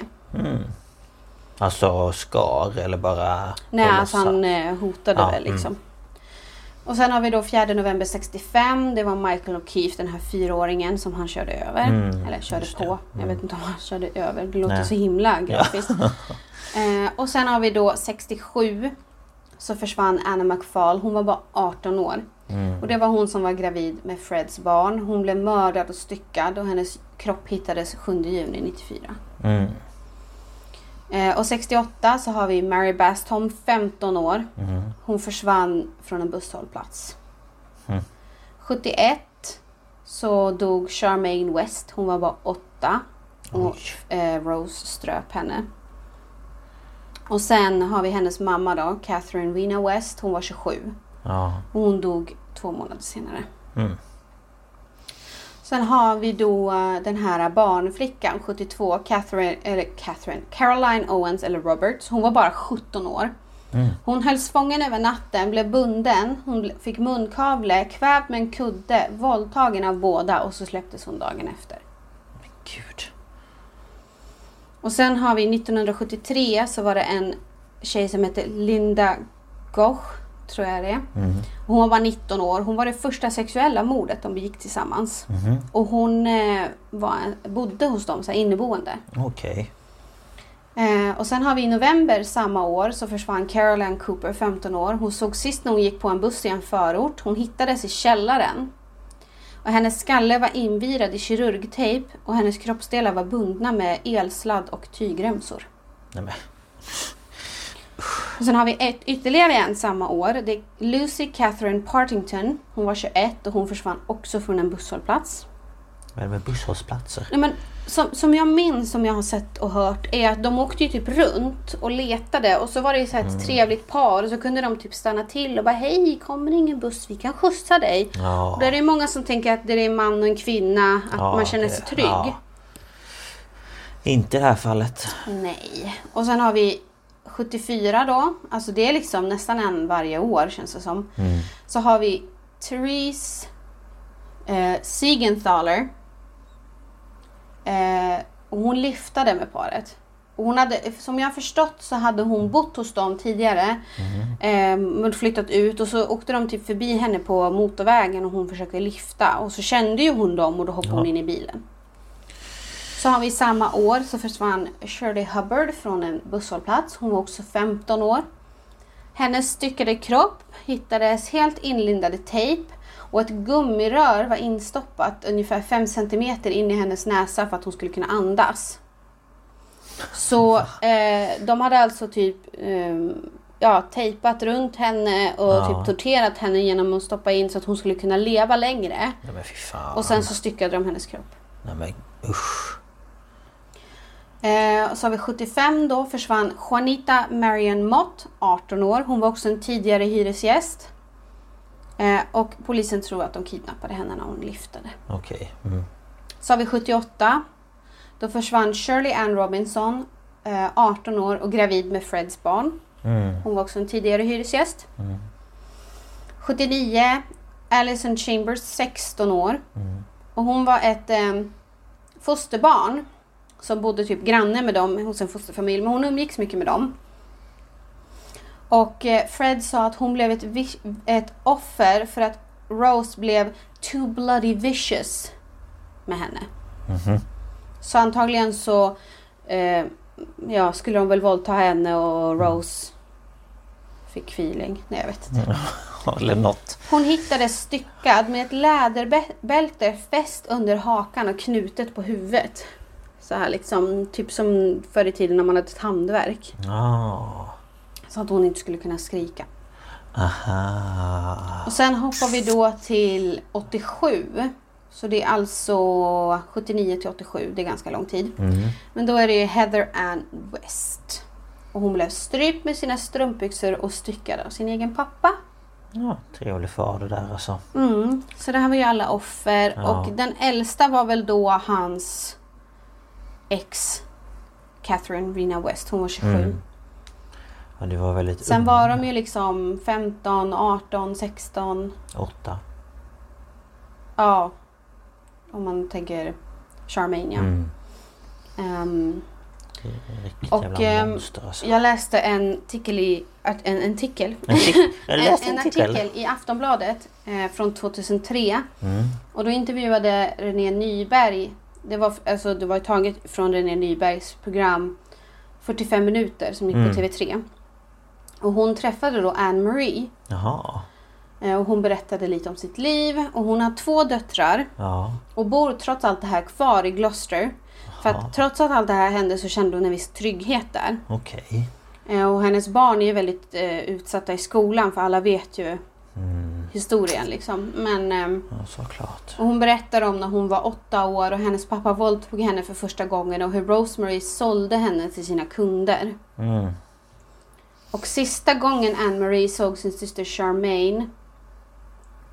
[SPEAKER 8] Alltså skar eller bara...
[SPEAKER 3] Nej,
[SPEAKER 8] bara
[SPEAKER 3] alltså
[SPEAKER 8] sa-
[SPEAKER 3] han eh, hotade
[SPEAKER 8] Ja, mm.
[SPEAKER 3] väl liksom. Och sen har vi då 4 november 65. Det var Michael O'Keefe, den här fyraåringen som han körde över.
[SPEAKER 8] Mm,
[SPEAKER 3] Eller körde
[SPEAKER 8] just
[SPEAKER 3] på.
[SPEAKER 8] det. Mm.
[SPEAKER 3] Jag vet inte om han körde över. Det låter
[SPEAKER 8] Nej.
[SPEAKER 3] så
[SPEAKER 8] (laughs)
[SPEAKER 3] himla grafiskt. eh, och sen har vi då 67. Så försvann Anna McFall. Hon var bara 18 år.
[SPEAKER 8] Mm.
[SPEAKER 3] Och det var hon som var gravid med Freds barn. Hon blev mördad och styckad och hennes kropp hittades 7 juni 94.
[SPEAKER 8] Mm.
[SPEAKER 3] Eh, och 68 så har vi Mary Bastholm, 15 år. Hon försvann från en busshållplats. 71 så dog Charmaine West. Hon var bara 8. Och eh, Rose ströp henne. Och sen har vi hennes mamma då, Catherine Rena West. Hon var 27.
[SPEAKER 8] Ja.
[SPEAKER 3] Och hon dog två månader senare.
[SPEAKER 8] Mm.
[SPEAKER 3] Sen har vi då eh, den här barnflickan, 72, Catherine, eller Catherine, Caroline Owens eller Roberts. Hon var bara 17 år. Hon hölls fången över natten, blev bunden, hon bl- fick munkavle, kvävd med en kudde, våldtagen av båda och så släpptes hon dagen efter.
[SPEAKER 8] Gud.
[SPEAKER 3] Och sen har vi 1973 så var det en tjej som hette Linda Goch, tror jag det är. Hon var 19 år. Hon var det första sexuella mordet de begick tillsammans. Och hon eh, var, bodde hos dem, så här, inneboende.
[SPEAKER 8] Okej.
[SPEAKER 3] Eh, och sen har vi i november samma år så försvann Caroline Cooper, 15 år. Hon såg sist när hon gick på en buss i en förort. Hon hittades i källaren. Och hennes skalle var invirad i kirurgtejp och hennes kroppsdelar var bundna med elsladd och tygremsor.
[SPEAKER 8] Nej men.
[SPEAKER 3] Och sen har vi ett, ytterligare en samma år. Det är Lucy Catherine Partington. Hon var 21 och hon försvann också från en busshållplats.
[SPEAKER 8] Vad är det med busshållplatser?
[SPEAKER 3] Nej, men som, som jag minns, som jag har sett och hört, är att de åkte ju typ runt och letade och så var det ju så här
[SPEAKER 8] Mm.
[SPEAKER 3] ett trevligt par och så kunde de typ stanna till och bara hej, kommer det ingen buss? Vi kan skjutsa dig.
[SPEAKER 8] Ja.
[SPEAKER 3] Då är det ju många som tänker att det är en man och en kvinna, att
[SPEAKER 8] Ja,
[SPEAKER 3] man känner
[SPEAKER 8] det-
[SPEAKER 3] sig trygg.
[SPEAKER 8] ja. Inte i det här fallet.
[SPEAKER 3] Nej. Och sen har vi 74 då. Alltså det är liksom nästan en varje år känns det som. Så har vi Therese eh, Siegenthaler. Eh, och hon lyftade med paret. Och Hon hade, som jag har förstått så hade hon bott hos dem tidigare. Mm. Eh, flyttat ut och så åkte de typ förbi henne på motorvägen och hon försökte lyfta. Och så kände ju hon dem och då hoppade hon in i bilen. Så har vi samma år så försvann Shirley Hubbard från en busshållplats. Hon var också 15 år. Hennes styckade kropp hittades helt inlindad i tejp och ett gummirör var instoppat ungefär 5 cm in i hennes näsa för att hon skulle kunna andas. Så eh, de hade alltså typ eh, ja, tejpat runt henne och
[SPEAKER 8] Ja.
[SPEAKER 3] typ torterat henne genom att stoppa in så att hon skulle kunna leva längre.
[SPEAKER 8] Nej men fy fan.
[SPEAKER 3] Och sen så styckade de hennes kropp.
[SPEAKER 8] Nej men usch.
[SPEAKER 3] Eh, och så har vi 75 då försvann Juanita Marion Mott, 18 år. Hon var också en tidigare hyresgäst. Eh, och polisen tror att de kidnappade henne när hon lyftade.
[SPEAKER 8] Okej. Mm. (laughs)
[SPEAKER 3] Så har vi 78. Då försvann Shirley Ann Robinson, eh, 18 år och gravid med Freds barn. Hon var också en tidigare hyresgäst. 79. Alison Chambers, 16 år. Och hon var ett eh, fosterbarn som bodde typ granne med dem hos en fosterfamilj. Men hon umgicks mycket med dem. Och eh, Fred sa att hon blev ett, vi- ett offer för att Rose blev too bloody vicious med henne. Så antagligen så eh, ja, skulle de väl våldta henne och Rose fick feeling. Nej, jag vet inte.
[SPEAKER 8] Eller något.
[SPEAKER 3] Hon hittades styckad med ett läderbälte fäst under hakan och knutet på huvudet. Så här liksom, typ som förr i tiden när man hade ett handverk.
[SPEAKER 2] Ah,
[SPEAKER 3] Så att hon inte skulle kunna skrika.
[SPEAKER 2] aha.
[SPEAKER 3] Och sen hoppar vi då till 87. Så det är alltså 79 till 87, det är ganska lång tid. Men då är det ju Heather Ann West. Och hon blev strypt med sina strumpbyxor och styckad av sin egen pappa.
[SPEAKER 2] Ja, trevlig far det där alltså.
[SPEAKER 3] Mm. Så det här var ju alla offer
[SPEAKER 2] Ja.
[SPEAKER 3] och den äldsta var väl då hans ex Catherine Rina West, hon var 27.
[SPEAKER 2] Mm. Ja, det var väldigt
[SPEAKER 3] Sen
[SPEAKER 2] ung.
[SPEAKER 3] var de ju liksom 15, 18, 16.
[SPEAKER 2] Åtta.
[SPEAKER 3] Ja. Om man tänker Charmania.
[SPEAKER 2] Mm.
[SPEAKER 3] Ehm,
[SPEAKER 2] Riktigt
[SPEAKER 3] Och,
[SPEAKER 2] jävla
[SPEAKER 3] ehm,
[SPEAKER 2] monster alltså.
[SPEAKER 3] jag läste en artikel i... art- En, en artikel?
[SPEAKER 2] En, tick- jag
[SPEAKER 3] En,
[SPEAKER 2] läste
[SPEAKER 3] Eh, en
[SPEAKER 2] en titel.
[SPEAKER 3] artikel i Aftonbladet eh, från 2003. Och då intervjuade René Nyberg. Det var, alltså, det var taget från René Nybergs program 45 minuter som gick på TV3. Och hon träffade då Anne Marie.
[SPEAKER 2] Jaha.
[SPEAKER 3] eh, Och hon berättade lite om sitt liv. Och hon har två döttrar.
[SPEAKER 2] Ja.
[SPEAKER 3] Och bor trots allt det här kvar i Gloucester. För att trots att allt det här hände så kände hon en viss trygghet där.
[SPEAKER 2] Okej.
[SPEAKER 3] Eh, Och hennes barn är ju väldigt eh, utsatta i skolan för alla vet ju historien liksom. Men ehm,
[SPEAKER 2] Ja, såklart.
[SPEAKER 3] och hon berättar om när hon var åtta år och hennes pappa våldtog henne för första gången och hur Rosemary sålde henne till sina kunder.
[SPEAKER 2] Mm.
[SPEAKER 3] Och sista gången Anne-Marie såg sin syster Charmaine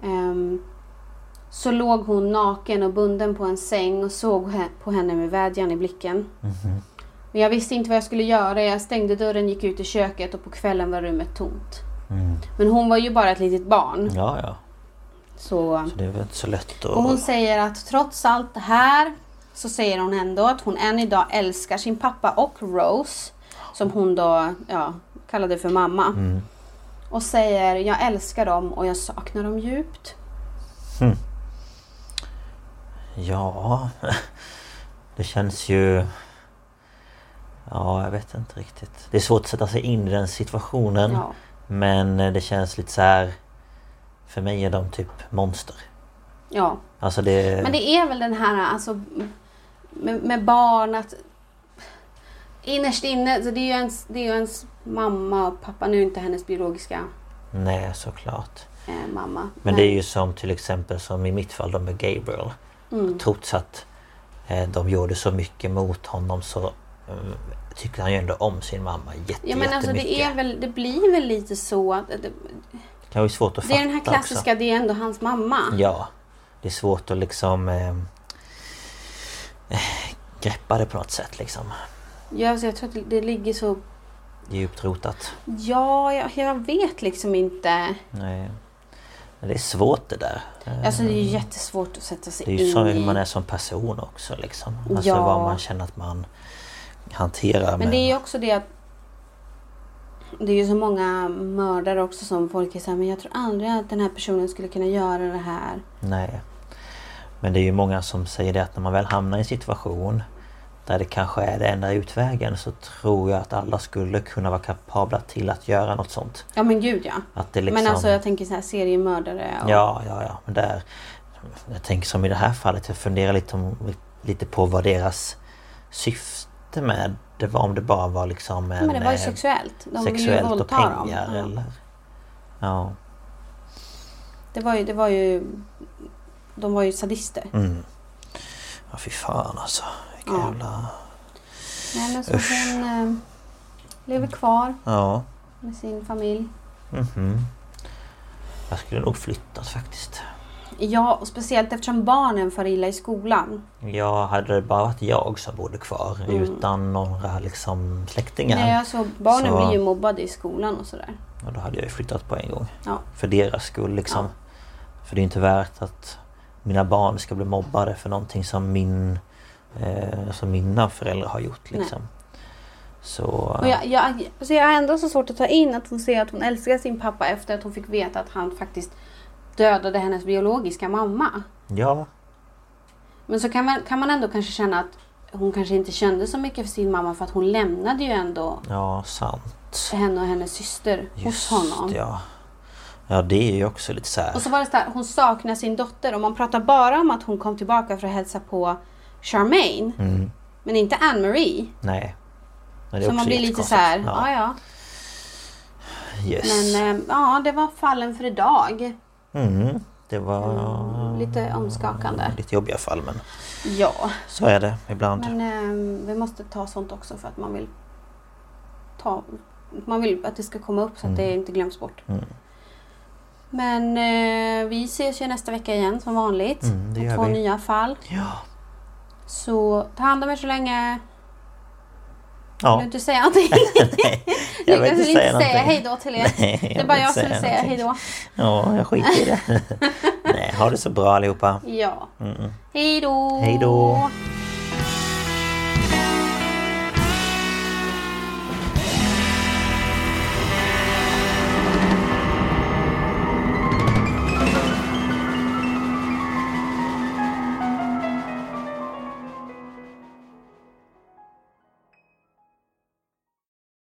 [SPEAKER 3] ehm, så låg hon naken och bunden på en säng och såg he- på henne med vädjan i blicken. Men jag visste inte vad jag skulle göra. Jag stängde dörren, gick ut i köket och på kvällen var rummet tomt. Men hon var ju bara ett litet barn.
[SPEAKER 2] Ja, ja.
[SPEAKER 3] Så...
[SPEAKER 2] Så det är väl inte så lätt att...
[SPEAKER 3] Och hon säger att trots allt det här så säger hon ändå att hon än idag älskar sin pappa och Rose. Som hon då ja, kallade för mamma. Och säger jag älskar dem och jag saknar dem djupt.
[SPEAKER 2] Ja. (laughs) Det känns ju... Ja, jag vet inte riktigt. Det är svårt att sätta sig in i den situationen.
[SPEAKER 3] Ja.
[SPEAKER 2] Men eh, det känns lite så här... För mig är de typ monster.
[SPEAKER 3] Ja.
[SPEAKER 2] Alltså det...
[SPEAKER 3] Men det är väl den här alltså, med, med barn att innerst inne, så det är ju ens, det är ju ens mamma och pappa, nu är inte hennes biologiska
[SPEAKER 2] Nej, såklart.
[SPEAKER 3] eh, mamma.
[SPEAKER 2] Men det är ju som till exempel som i mitt fall då med Gabriel.
[SPEAKER 3] mm.
[SPEAKER 2] Trots att eh, de gjorde så mycket mot honom så eh, tyckte han ju ändå om sin mamma jätte,
[SPEAKER 3] Ja men alltså det,
[SPEAKER 2] jättemycket.
[SPEAKER 3] är väl, det blir väl lite så att det,
[SPEAKER 2] Det kan vara svårt att
[SPEAKER 3] det
[SPEAKER 2] fatta
[SPEAKER 3] är den här klassiska, det är ändå hans mamma.
[SPEAKER 2] också. Ja. Det är svårt att liksom eh, eh, greppa det på något sätt liksom.
[SPEAKER 3] Ja, alltså jag tror att det- det ligger så...
[SPEAKER 2] Djupt rotat.
[SPEAKER 3] Ja, jag, jag vet liksom inte.
[SPEAKER 2] Nej. Men det är svårt det där. Eh,
[SPEAKER 3] Alltså det är ju jättesvårt att sätta sig
[SPEAKER 2] Det är
[SPEAKER 3] in
[SPEAKER 2] ju så
[SPEAKER 3] i.
[SPEAKER 2] hur man är som person också liksom. Alltså
[SPEAKER 3] Ja.
[SPEAKER 2] vad man känner att man hanterar
[SPEAKER 3] Men
[SPEAKER 2] med.
[SPEAKER 3] det är ju också det att... Det är ju så många mördare också som folk är såhär, men jag tror aldrig att den här personen skulle kunna göra det här.
[SPEAKER 2] Nej. Men det är ju många som säger det att när man väl hamnar i en situation där det kanske är den enda utvägen så tror jag att alla skulle kunna vara kapabla till att göra något sånt.
[SPEAKER 3] Ja men gud ja.
[SPEAKER 2] Att det liksom...
[SPEAKER 3] Men alltså jag tänker så här seriemördare och...
[SPEAKER 2] Ja, ja, ja. Men där, jag tänker som i det här fallet, jag funderar lite, om, lite på vad deras syfte med det var. Om det bara var liksom en...
[SPEAKER 3] men det var ju
[SPEAKER 2] eh,
[SPEAKER 3] sexuellt. De ville ju
[SPEAKER 2] sexuellt och
[SPEAKER 3] våldta dem.
[SPEAKER 2] pengar
[SPEAKER 3] Ja.
[SPEAKER 2] eller... Ja.
[SPEAKER 3] Det var ju, det var ju... De var ju sadister.
[SPEAKER 2] Mm. Ja, fy fan alltså. Vilka
[SPEAKER 3] Ja.
[SPEAKER 2] jävla...
[SPEAKER 3] Nej men så hon eh, lever kvar
[SPEAKER 2] Ja.
[SPEAKER 3] med sin familj.
[SPEAKER 2] Mhm. Jag skulle nog flyttat faktiskt.
[SPEAKER 3] Ja, och speciellt eftersom barnen far illa i skolan.
[SPEAKER 2] Jag hade det bara varit jag som bodde kvar utan några liksom släktingar.
[SPEAKER 3] Mm. Nej, alltså, barnen
[SPEAKER 2] Så-
[SPEAKER 3] blir ju mobbade i skolan och sådär.
[SPEAKER 2] Och då hade jag ju flyttat på en gång.
[SPEAKER 3] Ja.
[SPEAKER 2] För deras skull liksom. För det är ju inte värt att mina barn ska bli mobbade för någonting som min... Eh, som mina föräldrar har gjort
[SPEAKER 3] Nej.
[SPEAKER 2] liksom. Så...
[SPEAKER 3] Och jag, jag, alltså jag har ändå så svårt att ta in att hon säger att hon älskar sin pappa efter att hon fick veta att han faktiskt dödade hennes biologiska mamma.
[SPEAKER 2] Ja.
[SPEAKER 3] Men så kan man, kan man ändå kanske känna att hon kanske inte kände så mycket för sin mamma för att hon lämnade ju ändå
[SPEAKER 2] Ja, sant.
[SPEAKER 3] henne och hennes syster
[SPEAKER 2] Just
[SPEAKER 3] hos honom.
[SPEAKER 2] ja. Ja, det är ju också lite så här...
[SPEAKER 3] Och så var det så här, hon saknar sin dotter och man pratar bara om att hon kom tillbaka för att hälsa på Charmaine. Men inte Anne-Marie.
[SPEAKER 2] Mm, Nej. Men det är
[SPEAKER 3] Så man
[SPEAKER 2] också
[SPEAKER 3] blir lite så
[SPEAKER 2] jättekonstigt.
[SPEAKER 3] här, ja
[SPEAKER 2] Ja.
[SPEAKER 3] ja.
[SPEAKER 2] Yes.
[SPEAKER 3] Men eh, ja, det var fallen för idag.
[SPEAKER 2] Mm. Det var
[SPEAKER 3] mm,
[SPEAKER 2] Mm,
[SPEAKER 3] Lite omskakande.
[SPEAKER 2] lite jobbiga fall men
[SPEAKER 3] Ja,
[SPEAKER 2] så är det ibland.
[SPEAKER 3] men eh, vi måste ta sånt också för att man vill ta... Man vill att det ska komma upp så att det
[SPEAKER 2] Mm.
[SPEAKER 3] inte glöms bort. Men eh, vi ses ju nästa vecka igen som vanligt.
[SPEAKER 2] Mm, det
[SPEAKER 3] Och
[SPEAKER 2] gör
[SPEAKER 3] två
[SPEAKER 2] vi.
[SPEAKER 3] nya fall.
[SPEAKER 2] Ja.
[SPEAKER 3] Så ta hand om er så länge. Vill du
[SPEAKER 2] ja.
[SPEAKER 3] inte säga någonting?
[SPEAKER 2] (laughs)
[SPEAKER 3] (laughs)
[SPEAKER 2] Jag vill
[SPEAKER 3] Niklas
[SPEAKER 2] inte
[SPEAKER 3] vill inte
[SPEAKER 2] säga
[SPEAKER 3] säga hej
[SPEAKER 2] någonting.
[SPEAKER 3] då till er.
[SPEAKER 2] Nej, (laughs) jag
[SPEAKER 3] det är bara
[SPEAKER 2] vill
[SPEAKER 3] jag
[SPEAKER 2] inte
[SPEAKER 3] som vill
[SPEAKER 2] säga
[SPEAKER 3] säga hej
[SPEAKER 2] någonting.
[SPEAKER 3] då.
[SPEAKER 2] Ja, jag skiter
[SPEAKER 3] (laughs)
[SPEAKER 2] i det. Nej, ha det så bra allihopa.
[SPEAKER 3] Ja. Hej då!
[SPEAKER 2] Mm. Hej då.